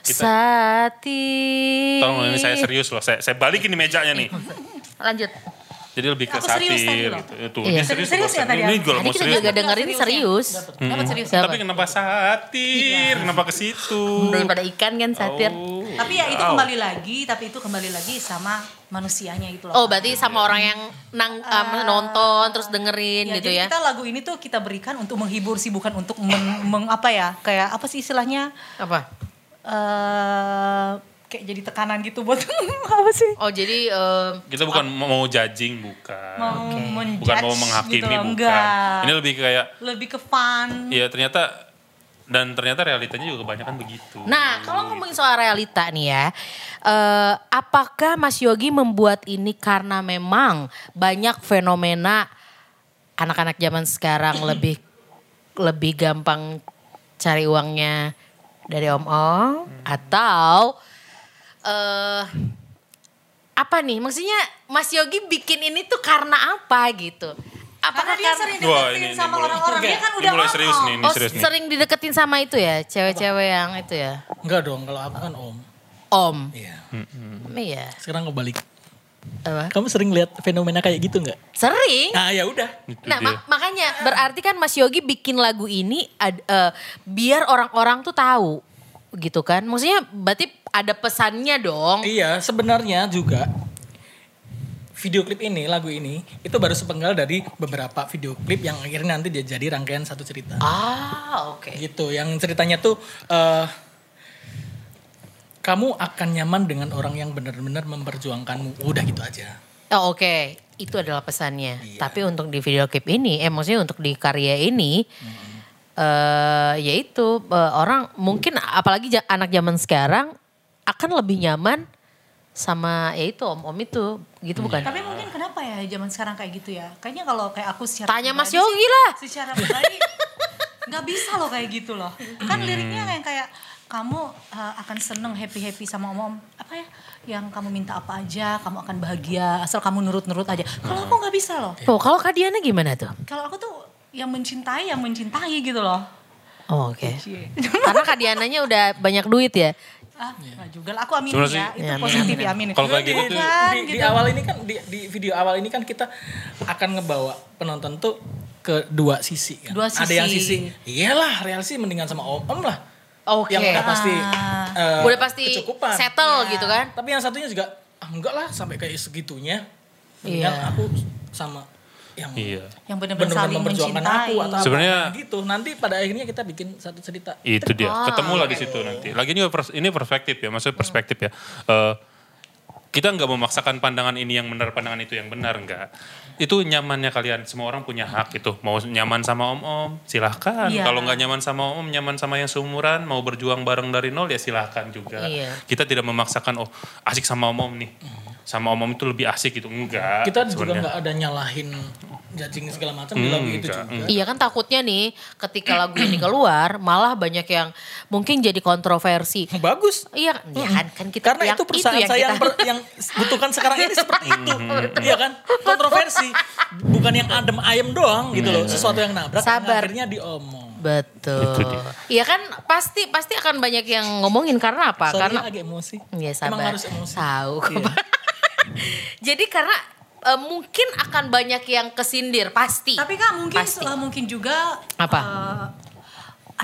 Kita
Sati.
tolong ini saya serius loh. Saya, saya balikin di mejanya nih.
Lanjut.
Jadi lebih
Iya.
ke
Aku
satir
serius tadi loh.
gitu. Tuh,
Iya.
dia serius,
Serius
juga.
ya tadi
Ini, ini
aku?
juga
Tadi
mau
kita
serius. Hmm.
juga dengerin serius.
dapat serius
Siapa?
Tapi
Iya.
kenapa satir? Kenapa ke situ?
Daripada ikan kan satir.
Oh.
tapi ya itu kembali lagi tapi itu kembali lagi sama manusianya gitu
Oh,
loh
berarti sama orang yang nang, um, nonton terus dengerin
Ya,
gitu
jadi
ya.
kita lagu ini tuh kita berikan untuk menghibur sih bukan untuk meng, meng- apa ya kayak apa sih istilahnya
Apa?
eh kayak jadi tekanan gitu buat apa sih
Oh, jadi um,
Kita bukan mau judging, bukan.
mau menjudge
Bukan mau menghakimi,
gitu loh,
bukan.
enggak.
Ini lebih kayak,
lebih ke fun
ya ternyata, dan ternyata realitanya juga kebanyakan begitu.
Nah, kalau ngomongin soal realita nih ya, eh, apakah Mas Yogi membuat ini karena memang banyak fenomena anak-anak zaman sekarang lebih lebih gampang cari uangnya dari
Hmm.
om-om atau eh apa nih? Maksudnya Mas Yogi bikin ini tuh karena apa gitu?
karena
Apakah
dia sering
Wah, ini-
deketin
ini
sama
mulai-
orang-orang dia kan
Ini
udah
mulai serius
ngomong.
nih,
Oh,
ini Hmm, serius nih.
sering dideketin sama itu ya, cewek-cewek yang itu ya,
Enggak dong, kalau aku kan om.
om.
Iya.
Hmm.
Iya.
Sekarang kebalik.
Apa?
Kamu sering lihat fenomena kayak gitu nggak?
Sering.
Nah, ya udah.
Itu
Nah,
dia.
ma- makanya berarti kan Mas Yogi bikin lagu ini ad- eh, biar orang-orang tuh tahu gitu kan. Maksudnya berarti ada pesannya dong.
Iya, sebenarnya juga video klip ini, lagu ini itu baru sepenggal dari beberapa video klip yang akhirnya nanti dia jadi rangkaian satu cerita.
Ah, oke.
Gitu, yang ceritanya tuh eh kamu akan nyaman dengan orang yang benar-benar memperjuangkanmu. Udah gitu aja.
Oh, oke. Itu adalah pesannya. Tapi untuk di video klip ini, eh maksudnya untuk di karya ini eh yaitu eh, orang mungkin apalagi ja- anak zaman sekarang akan lebih nyaman sama yaitu om-om itu gitu bukan?
tapi mungkin kenapa ya zaman sekarang kayak gitu ya kayaknya kalau kayak aku secara
Tanya Mas
pribadi sih,
Yogi lah.
secara pribadi nggak bisa loh kayak gitu loh kan
Hmm.
liriknya kayak kayak kamu uh, akan seneng happy happy sama om om apa ya yang kamu minta apa aja kamu akan bahagia asal kamu nurut nurut aja kalau aku nggak bisa loh
Oh, kalau Kadiana gimana tuh?
kalau aku tuh yang mencintai yang mencintai gitu loh
Oh, oke. Karena kadiananya udah banyak duit ya.
ah nggak juga lah aku aminin
Iya. Sebenarnya
ya
sih- iya,
itu
Ya, amin,
positif
amin,
ya aminin
Kalau kayak
di,
gitu
di-
Kan,
di- di
gitu.
awal ini kan di, di video awal ini kan kita akan ngebawa penonton tuh ke dua sisi kan.
Dua
Ada
sisi.
yang sisi, iyalah realisi mendingan sama om om lah.
Oke. Ah.
Yang udah pasti eh,
udah pasti
kecukupan.
settle gitu kan.
Tapi yang satunya juga ah, enggak lah sampai kayak segitunya. Mendingan
Iya.
aku sama yang
Iya.
yang benar-benar
benar-benar
saling
memperjuangkan aku atau
mencintai
apa.
Sebenarnya- Iya,
gitu. Nanti pada akhirnya kita bikin satu cerita.
Itu dia. Ketemulah di situ nanti. Lagi ini pers- ini perspektif ya, maksudnya perspektif ya. Eh, kita nggak memaksakan pandangan ini yang benar, pandangan itu yang benar enggak. Itu nyamannya kalian. Semua orang punya hak itu. Mau nyaman sama om-om, silahkan.
Iya.
Kalau nggak nyaman sama om, nyaman sama yang seumuran, mau berjuang bareng dari nol ya silahkan juga.
Iya.
Kita tidak memaksakan oh asik sama om-om nih. Sama om-om itu lebih asik gitu. Enggak.
Kita juga
sebenarnya. Hmm,
nggak ada nyalahin judging segala macam di lagu itu
enggak,
juga.
Iya kan takutnya nih ketika lagu ini keluar malah banyak yang mungkin jadi kontroversi.
Bagus.
Iya kan? Iya kan? Kan kita
Karena
yang-
itu perusahaan
yang
saya yang,
kita-
per- yang butuhkan sekarang ini seperti itu. Iya kan? Kontroversi. Bukan yang adem ayem doang gitu
Hmm.
loh. Sesuatu yang nabrak
Sabar.
akhirnya diomong.
Betul. Iya kan pasti pasti akan banyak yang ngomongin karena apa? Ah,
Sorry ya,
karena
agak emosi.
Iya sabar.
Emang harus emosi. Iya.
Tahu kok. Pak. Jadi karena eh, mungkin akan banyak yang kesindir pasti.
Tapi kak mungkin
Pasti.
eh, mungkin juga
Apa?
eh,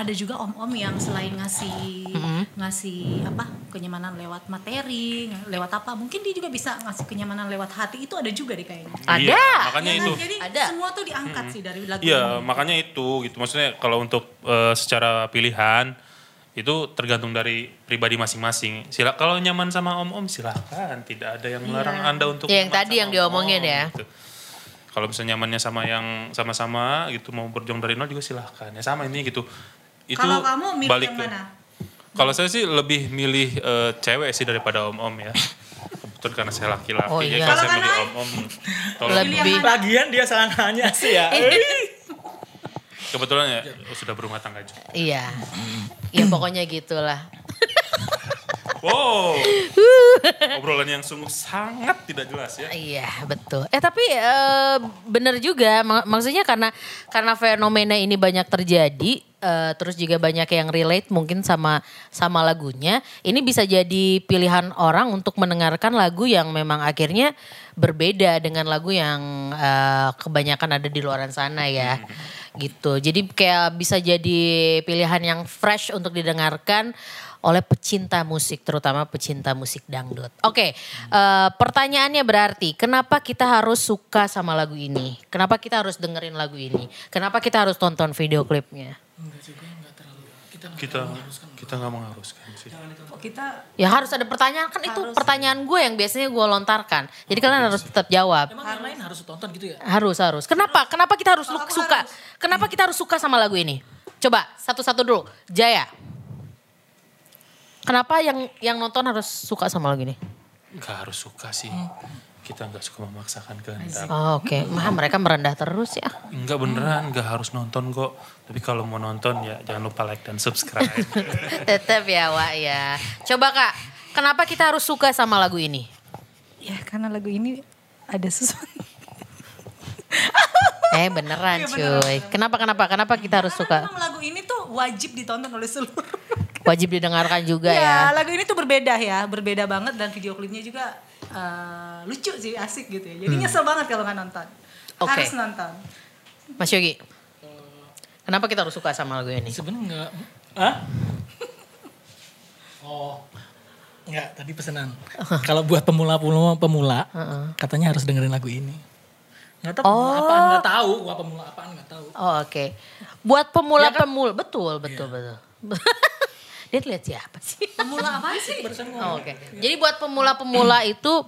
ada juga om-om yang selain ngasih ngasih apa kenyamanan lewat materi, lewat apa? Mungkin dia juga bisa ngasih kenyamanan lewat hati itu ada juga deh kayaknya.
Ada.
Iya, makanya
Ya kan?
itu.
Jadi
Ada.
semua tuh diangkat sih dari lagu
Iya,
ini.
makanya itu gitu. Maksudnya kalau untuk eh, secara pilihan itu tergantung dari pribadi masing-masing. Sila kalau nyaman sama om-om silakan, tidak ada yang melarang Anda untuk
Iya, yang
nyaman
tadi
sama
yang diomongin
om-om,
ya.
gitu. Kalau misalnya nyamannya sama yang sama-sama gitu mau berjuang dari nol juga silahkan. Ya sama ini gitu. Itu
Kalau kamu milih
balik
yang
ke-
mana?
Kalau saya sih lebih milih eh, cewek sih daripada om-om ya. tuntutan karena saya laki-laki.
Oh,
Jadi
iya.
Kalau
kalau saya mau
karena-
diom-om, tolong.
Lebih-
Pilih yang mana?
Lagian dia sarananya sih ya.
Eh.
Kebetulan ya sudah berumah tangga juga.
Iya. Ya pokoknya gitulah.
Wow. Obrolan yang sungguh sangat tidak jelas ya.
Iya betul. Eh tapi eh, bener juga, Mak- maksudnya karena karena fenomena ini banyak terjadi, eh, terus juga banyak yang relate mungkin sama sama lagunya. Ini bisa jadi pilihan orang untuk mendengarkan lagu yang memang akhirnya berbeda dengan lagu yang eh, kebanyakan ada di luaran sana ya, gitu. Jadi kayak bisa jadi pilihan yang fresh untuk didengarkan oleh pecinta musik, terutama pecinta musik dangdut. Oke, eh, pertanyaannya berarti, kenapa kita harus suka sama lagu ini? Kenapa kita harus dengerin lagu ini? Kenapa kita harus tonton video klipnya?
Kita kita nggak mengharuskan sih.
Kita
Ya harus ada pertanyaan, kan itu pertanyaan gue yang biasanya gue lontarkan. Jadi kalian harus tetap jawab.
Emang yang lain harus tonton gitu ya?
Harus, harus. Kenapa? Kenapa kita harus lu- suka? Kenapa kita harus suka sama lagu ini? Coba satu-satu dulu. Jaya. Kenapa yang yang nonton harus suka sama lagu ini?
Nggak harus suka sih. Kita nggak suka memaksakan kehendak.
Oh, Oke, Mah, mereka merendah terus ya.
Enggak beneran, nggak harus nonton kok. Tapi kalau mau nonton ya jangan lupa like dan subscribe.
Tetep ya Wak ya. Coba Kak, kenapa kita harus suka sama lagu ini?
ya karena lagu ini ada sesuatu.
Eh beneran cuy. Kenapa, kenapa, kenapa kita harus suka?
Karena memang lagu ini tuh wajib ditonton oleh seluruh.
Wajib didengarkan juga
ya,
ya.
lagu ini tuh berbeda ya, berbeda banget dan video klipnya juga eh, lucu sih, asik gitu ya. Jadi nyesel banget kalau nggak nonton.
Hmm. Oke.
Harus nonton.
ya. Mas Yogi, kenapa kita harus suka sama lagu ini?
Sebenarnya enggak. Hah? Oh. Enggak, tadi pesanan.
Oh.
Kalau buat pemula-pemula pemula, katanya harus dengerin lagu ini. Enggak tahu pemula apaan, enggak tahu gua pemula apaan enggak tahu.
Oh oke. Buat pemula-pemula, betul, betul, betul. Dia lihat siapa sih?
Pemula apa Iya sih?
Oh, oke. Jadi buat pemula-pemula itu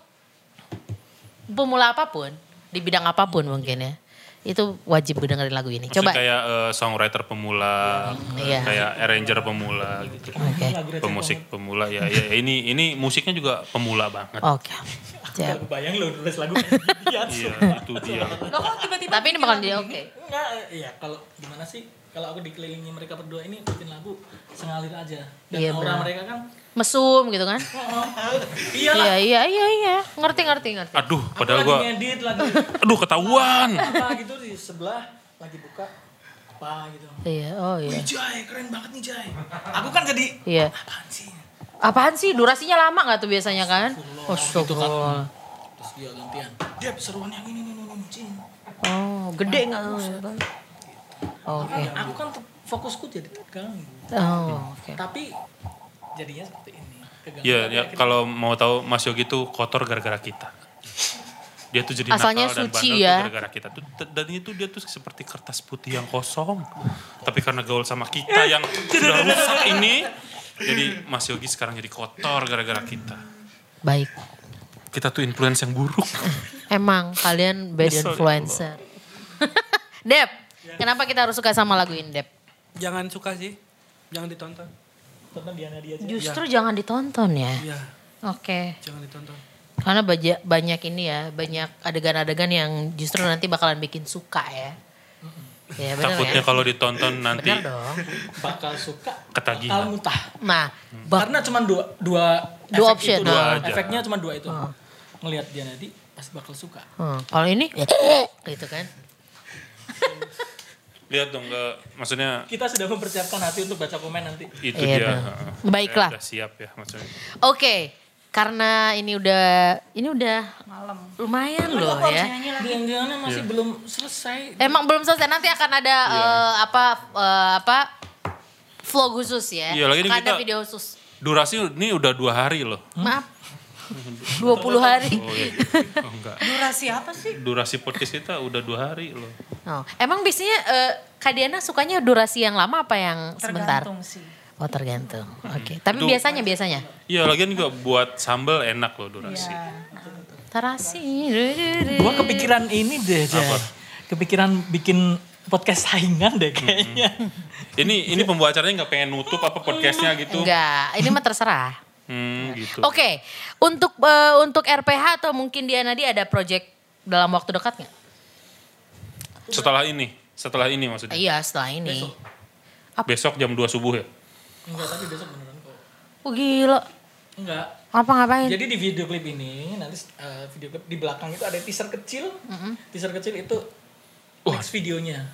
pemula apapun di bidang apapun mungkin ya itu wajib dengerin lagu ini.
Coba.
Coba. Oke.
kayak eh, songwriter pemula,
Iya.
kayak arranger pemula gitu. Pemusik pemula ya, ya ini ini musiknya juga pemula banget.
Oke. Siap.
Aku bayang lo nulis lagu kayak dia.
Iya, itu dia.
Loh kok tiba-tiba
Tapi ini bakal jadi oke.
Enggak, iya kalau gimana sih? Kalau aku dikelilingi mereka berdua ini bikin lagu sengalir aja. Dan
Iya,
aura
benar.
mereka kan
Mesum gitu kan?
iya lah.
Iya iya iya iya. Ngerti ngerti ngerti.
Aduh,
Aku
padahal
lagi
gua
ngedit lagi
aduh ketahuan.
apa gitu di sebelah lagi buka apa gitu.
Iya oh iya.
Wih Jai, keren banget nih Jai. Aku kan jadi
Iya.
apaan sih?
Apaan sih durasinya lama nggak tuh biasanya kan? Astagfirullah.
Terus dia gantian. Dia seruan yang ini nih nih nih, nih Jin.
Oh gede nggak? tuh? Oke.
Aku kan tuh fokusku jadi terganggu.
Oh oke.
Tapi jadinya seperti ini. Keganggu.
Ya, ya kalau mau tahu Mas Yogi tuh kotor gara-gara kita. Dia tuh jadi
Asalnya
nakal dan
suci
bandel tuh
ya.
gara-gara kita. Tuh, t- Dan itu dia tuh seperti kertas putih yang kosong. Tapi karena gaul sama kita yang sudah rusak ini, jadi Mas Yogi sekarang jadi kotor gara-gara kita.
Baik.
Kita tuh influence yang buruk.
Emang kalian bad
Nyesel ya
influencer. Dep, kenapa kita harus suka sama lagu ini Dep?
Jangan suka sih. Jangan ditonton.
Tonton Diana dia aja.
Justru jangan ditonton ya.
Iya,
Oke.
jangan ditonton.
Karena baja- banyak ini ya, banyak adegan-adegan yang justru nanti bakalan bikin suka ya. Ya benar ya.
Takutnya kalau ditonton nanti
Benar dong.
Bakal suka.
ketagihan.
Bakal muntah.
Nah, bak-
Karena cuma dua dua
Dua
efek
option, Hmm.
Itu,
dua
aja.
Efeknya cuma dua itu. Ngelihat Diana di pasti bakal suka.
hmm, kalau ini gitu kan.
Lihat dong, nggak- maksudnya
Kita sudah mempersiapkan hati untuk baca komen nanti.
Iya,
itu dia.
benar.
Heeh.
Baiklah.
Saya udah siap ya maksudnya.
Oke, karena ini udah ini udah
malam.
lumayan loh ya.
Diana Diana masih
Iya.
belum selesai.
Emang belum selesai nanti akan ada eh, apa eh, apa vlog khusus ya.
Iya, lagi ini
akan ada
kita-
video khusus.
Durasi ini udah dua hari loh.
Maaf. 20 hari.
Oh, iya. Oh, enggak.
Durasi apa sih?
Durasi podcast kita udah dua hari loh.
Oh, Emang biasanya eh, Kak Diana sukanya durasi yang lama apa yang sebentar?
Tergantung sih.
Oh tergantung. Oke. Tapi
Itu-
biasanya biasanya
Iya lagian juga buat sambel enak loh durasi.
Ya.
Oh, terasi.
Gua kepikiran ini deh, Jay.
Apa?
Kepikiran bikin podcast saingan deh kayaknya.
Ini ini pembawa acaranya nggak pengen nutup apa podcastnya gitu.
Enggak, ini mah terserah.
Hmm, gitu.
Oke, untuk eh, untuk RPH atau mungkin dia Nadi ada project dalam waktu dekat nggak?
Setelah ini, setelah ini maksudnya.
Iya setelah ini.
Besok jam 2 subuh ya?
Enggak, tapi besok beneran kok.
Oh gila,
Enggak.
apa ngapain?
Jadi di video klip ini nanti eh, video klip di belakang itu ada teaser kecil. Teaser kecil itu next videonya.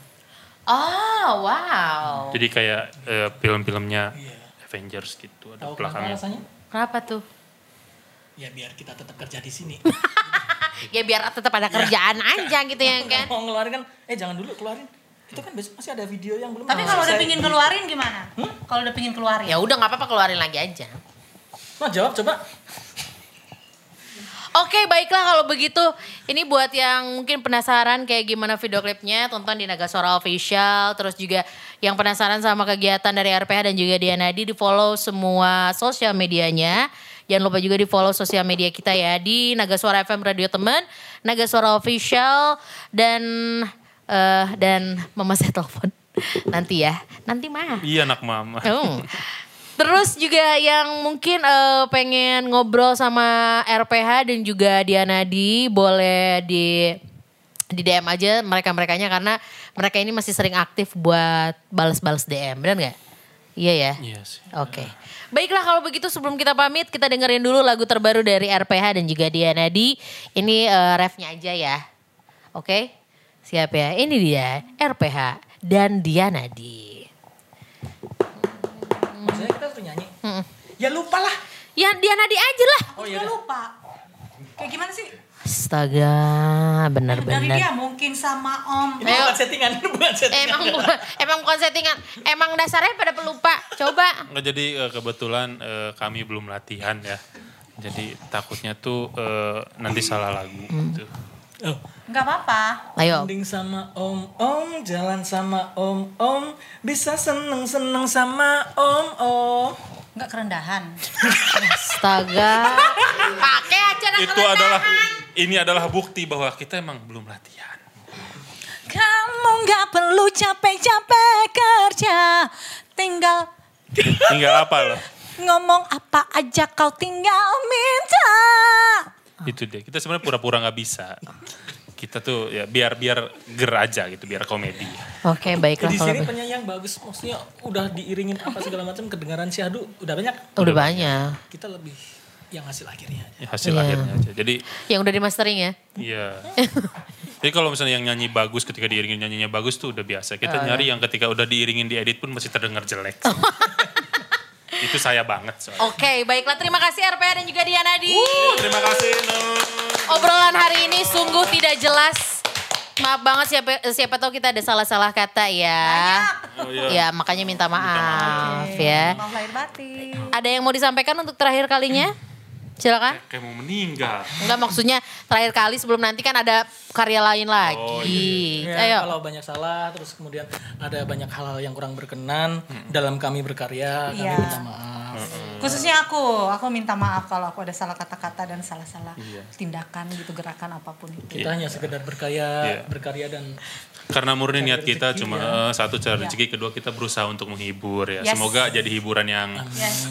oh wow,
Jadi kayak eh, film-filmnya
Iya.
Avengers gitu ada
Tahu kenapa
belakangnya.
rasanya?
kenapa tuh?
Ya biar kita tetap kerja di sini.
Ya biar tetap ada kerjaan aja gitu ya kan?
Mau ngeluarin kan? Eh jangan dulu keluarin. Itu kan besok masih ada video yang belum.
Tapi kalau udah pingin keluarin gimana? Kalau udah pingin keluarin?
Ya udah nggak apa-apa keluarin lagi aja.
Nah, jawab coba.
Oke baiklah kalau begitu ini buat yang mungkin penasaran kayak gimana video klipnya tonton di Naga Sora Official terus juga yang penasaran sama kegiatan dari RPH dan juga Dianadi di follow semua sosial medianya jangan lupa juga di follow sosial media kita ya di Naga Suara FM Radio Teman Naga Suara Official dan eh dan Mama saya telepon nanti ya nanti mah
Iya anak mama.
Hmm. Terus juga yang mungkin eh, pengen ngobrol sama RPH dan juga Dianadi boleh di di DM aja mereka-merekanya karena mereka ini masih sering aktif buat balas-balas DM, benar nggak? Iya ya.
Iya sih.
Oke. Baiklah kalau begitu sebelum kita pamit kita dengerin dulu lagu terbaru dari RPH dan juga Dianadi. Ini eh, refnya aja ya. Oke. Siap ya. Ini dia RPH dan Dianadi.
Maksudnya kita harus nyanyi. Ya lupa lah.
Ya Dianadi aja lah.
Aku juga lupa. Kayak gimana sih?
Astaga,
Dari
benar-benar.
dia mungkin sama Om.
Ini bukan settingan, ini
Eh,
bukan settingan.
Emang bukan, emang bukan settingan. Emang dasarnya pada pelupa. Coba.
Nggak, jadi eh, kebetulan eh, kami belum latihan ya. Jadi takutnya tuh eh, nanti salah lagu gitu.
Oh.
Enggak apa-apa.
Ayo.
Mending sama om om, jalan sama om om, bisa seneng seneng sama om om.
Enggak kerendahan.
Astaga. Pakai aja nak
Itu adalah ini adalah bukti bahwa kita emang belum latihan.
Kamu nggak perlu capek-capek kerja, tinggal
Tinggal apa loh?
ngomong apa aja kau tinggal minta.
Itu dia. Kita sebenarnya pura-pura nggak bisa. Kita tuh ya biar biar ger aja gitu, biar komedi.
Oke, baiklah
Eh, Di
kalau
sini
begitu.
penyanyi yang bagus, maksudnya udah diiringin apa segala macam, kedengaran sih aduh udah banyak.
Udah banyak.
Kita lebih yang hasil akhirnya aja.
Ya, hasil
Iya.
akhirnya aja. Jadi
Yang udah di mastering ya.
Iya. Jadi kalau misalnya yang nyanyi bagus ketika diiringin nyanyinya bagus tuh udah biasa. Kita nyari yang ketika udah diiringin diedit pun masih terdengar jelek. Itu saya banget soalnya.
Oke, baiklah terima kasih RPA dan juga Dianadi.
Terima kasih Nur.
Obrolan hari ini sungguh tidak jelas. Maaf banget siapa siapa tahu kita ada salah-salah kata ya.
Oh, iya.
Ya, makanya minta maaf ya.
Maaf lahir batin.
Ada yang mau disampaikan untuk terakhir kalinya? Silakan.
Kayak mau meninggal.
Enggak maksudnya terakhir kali sebelum nanti kan ada karya lain lagi.
Oh,
Iya, Ayo.
Ya, kalau banyak salah, terus kemudian ada banyak hal-hal yang kurang berkenan
Hmm.
dalam kami berkarya, kami
Iya.
minta maaf.
Khususnya aku, aku minta maaf kalau aku ada salah kata-kata dan salah-salah
Iya.
tindakan gitu, gerakan apapun itu.
Kita hanya sekedar berkarya,
Iya.
berkarya dan
Karena murni niat kita cuma
ya.
eh, satu cari rezeki, kedua kita berusaha untuk menghibur ya.
Yes.
Semoga jadi hiburan yang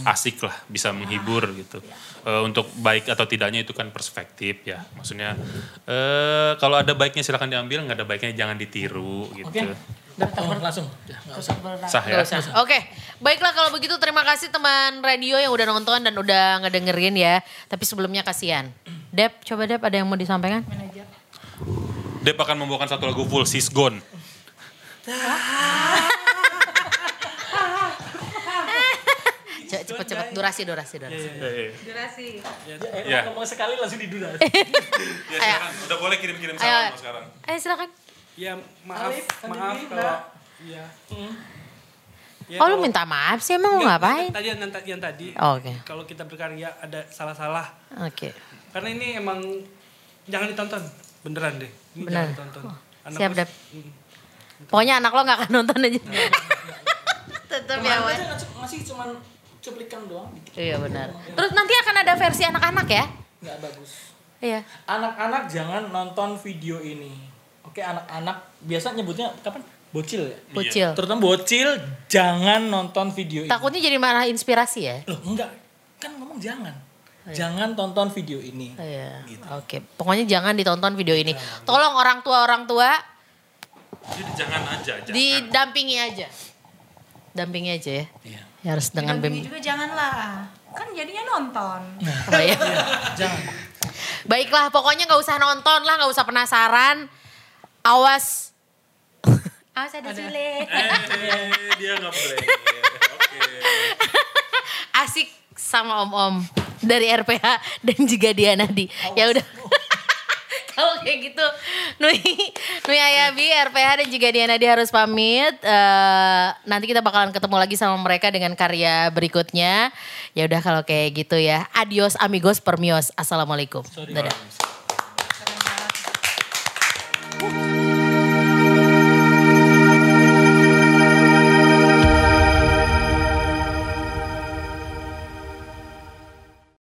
asik lah,
Ah,
bisa menghibur gitu.
iya.
Eh, untuk baik atau tidaknya itu kan perspektif ya. Maksudnya eh, kalau ada baiknya silahkan diambil, nggak ada baiknya jangan ditiru gitu.
oke. Udah, oh, langsung. Ya, nggak usah.
Sah ya.
Nggak usah. Oke, baiklah kalau begitu terima kasih teman radio yang udah nonton dan udah ngedengerin ya. Tapi sebelumnya kasihan. Dep, coba Dep ada yang mau disampaikan?
Dep akan membawakan satu lagu full sis gone.
Ce- Cepet cepet durasi durasi durasi.
Eh,
Durasi.
Ya, eh,
Iya.
ngomong sekali langsung didular.
Ya, silakan. Udah boleh kirim-kirim
Ayo.
salam kok sekarang.
Eh silakan.
Ya maaf, maaf
Alif,
kalau ya.
Oh
Ya,
lu
kalau- Iya,
minta maaf sih emang mau
Enggak,
ngapain? Oh.
Tadi yang, yang- yang tadi.
Oke.
Kalau kita berkarya ada salah-salah.
Oke.
Karena ini emang jangan ditonton. Beneran deh. Ini
Bener.
jangan ditonton.
Siap,
gue-
Dep. Pokoknya anak lo gak akan nonton aja. Tetap ya, Wan.
Aja nggak- masih cuman cuplikan doang, dikit.
Iya benar. Terus nanti akan ada versi anak-anak ya?
nggak bagus.
Iya.
Anak-anak jangan nonton video ini. Oke, anak-anak biasa nyebutnya kapan? Bocil ya.
Bocil.
Terutama bocil jangan nonton video ini.
Takutnya jadi malah inspirasi ya.
Loh, enggak. Kan ngomong tolong jangan. Jangan tonton video ini.
Iya. Oke, pokoknya jangan ditonton video ini. Tolong orang tua orang tua
Jadi jangan aja, jangan.
didampingi aja. Dampingi aja ya.
Iya.
Ya harus dengan
Didampingi
bem.
juga janganlah. Kan jadinya nonton.
Oh, iya.
Jangan.
Baiklah, pokoknya nggak usah nonton lah, nggak usah penasaran. Awas. Awas ada Sule.
Eh, dia nggak boleh. Oke.
Asik sama om-om dari RPH dan juga Diana di. Ya udah. Kalau kayak gitu, Nui, Nui Ayabi, RPH dan juga Diana di harus pamit. Eh, nanti kita bakalan ketemu lagi sama mereka dengan karya berikutnya. Ya udah kalau kayak gitu ya. Adios amigos permios. Assalamualaikum. Dadah.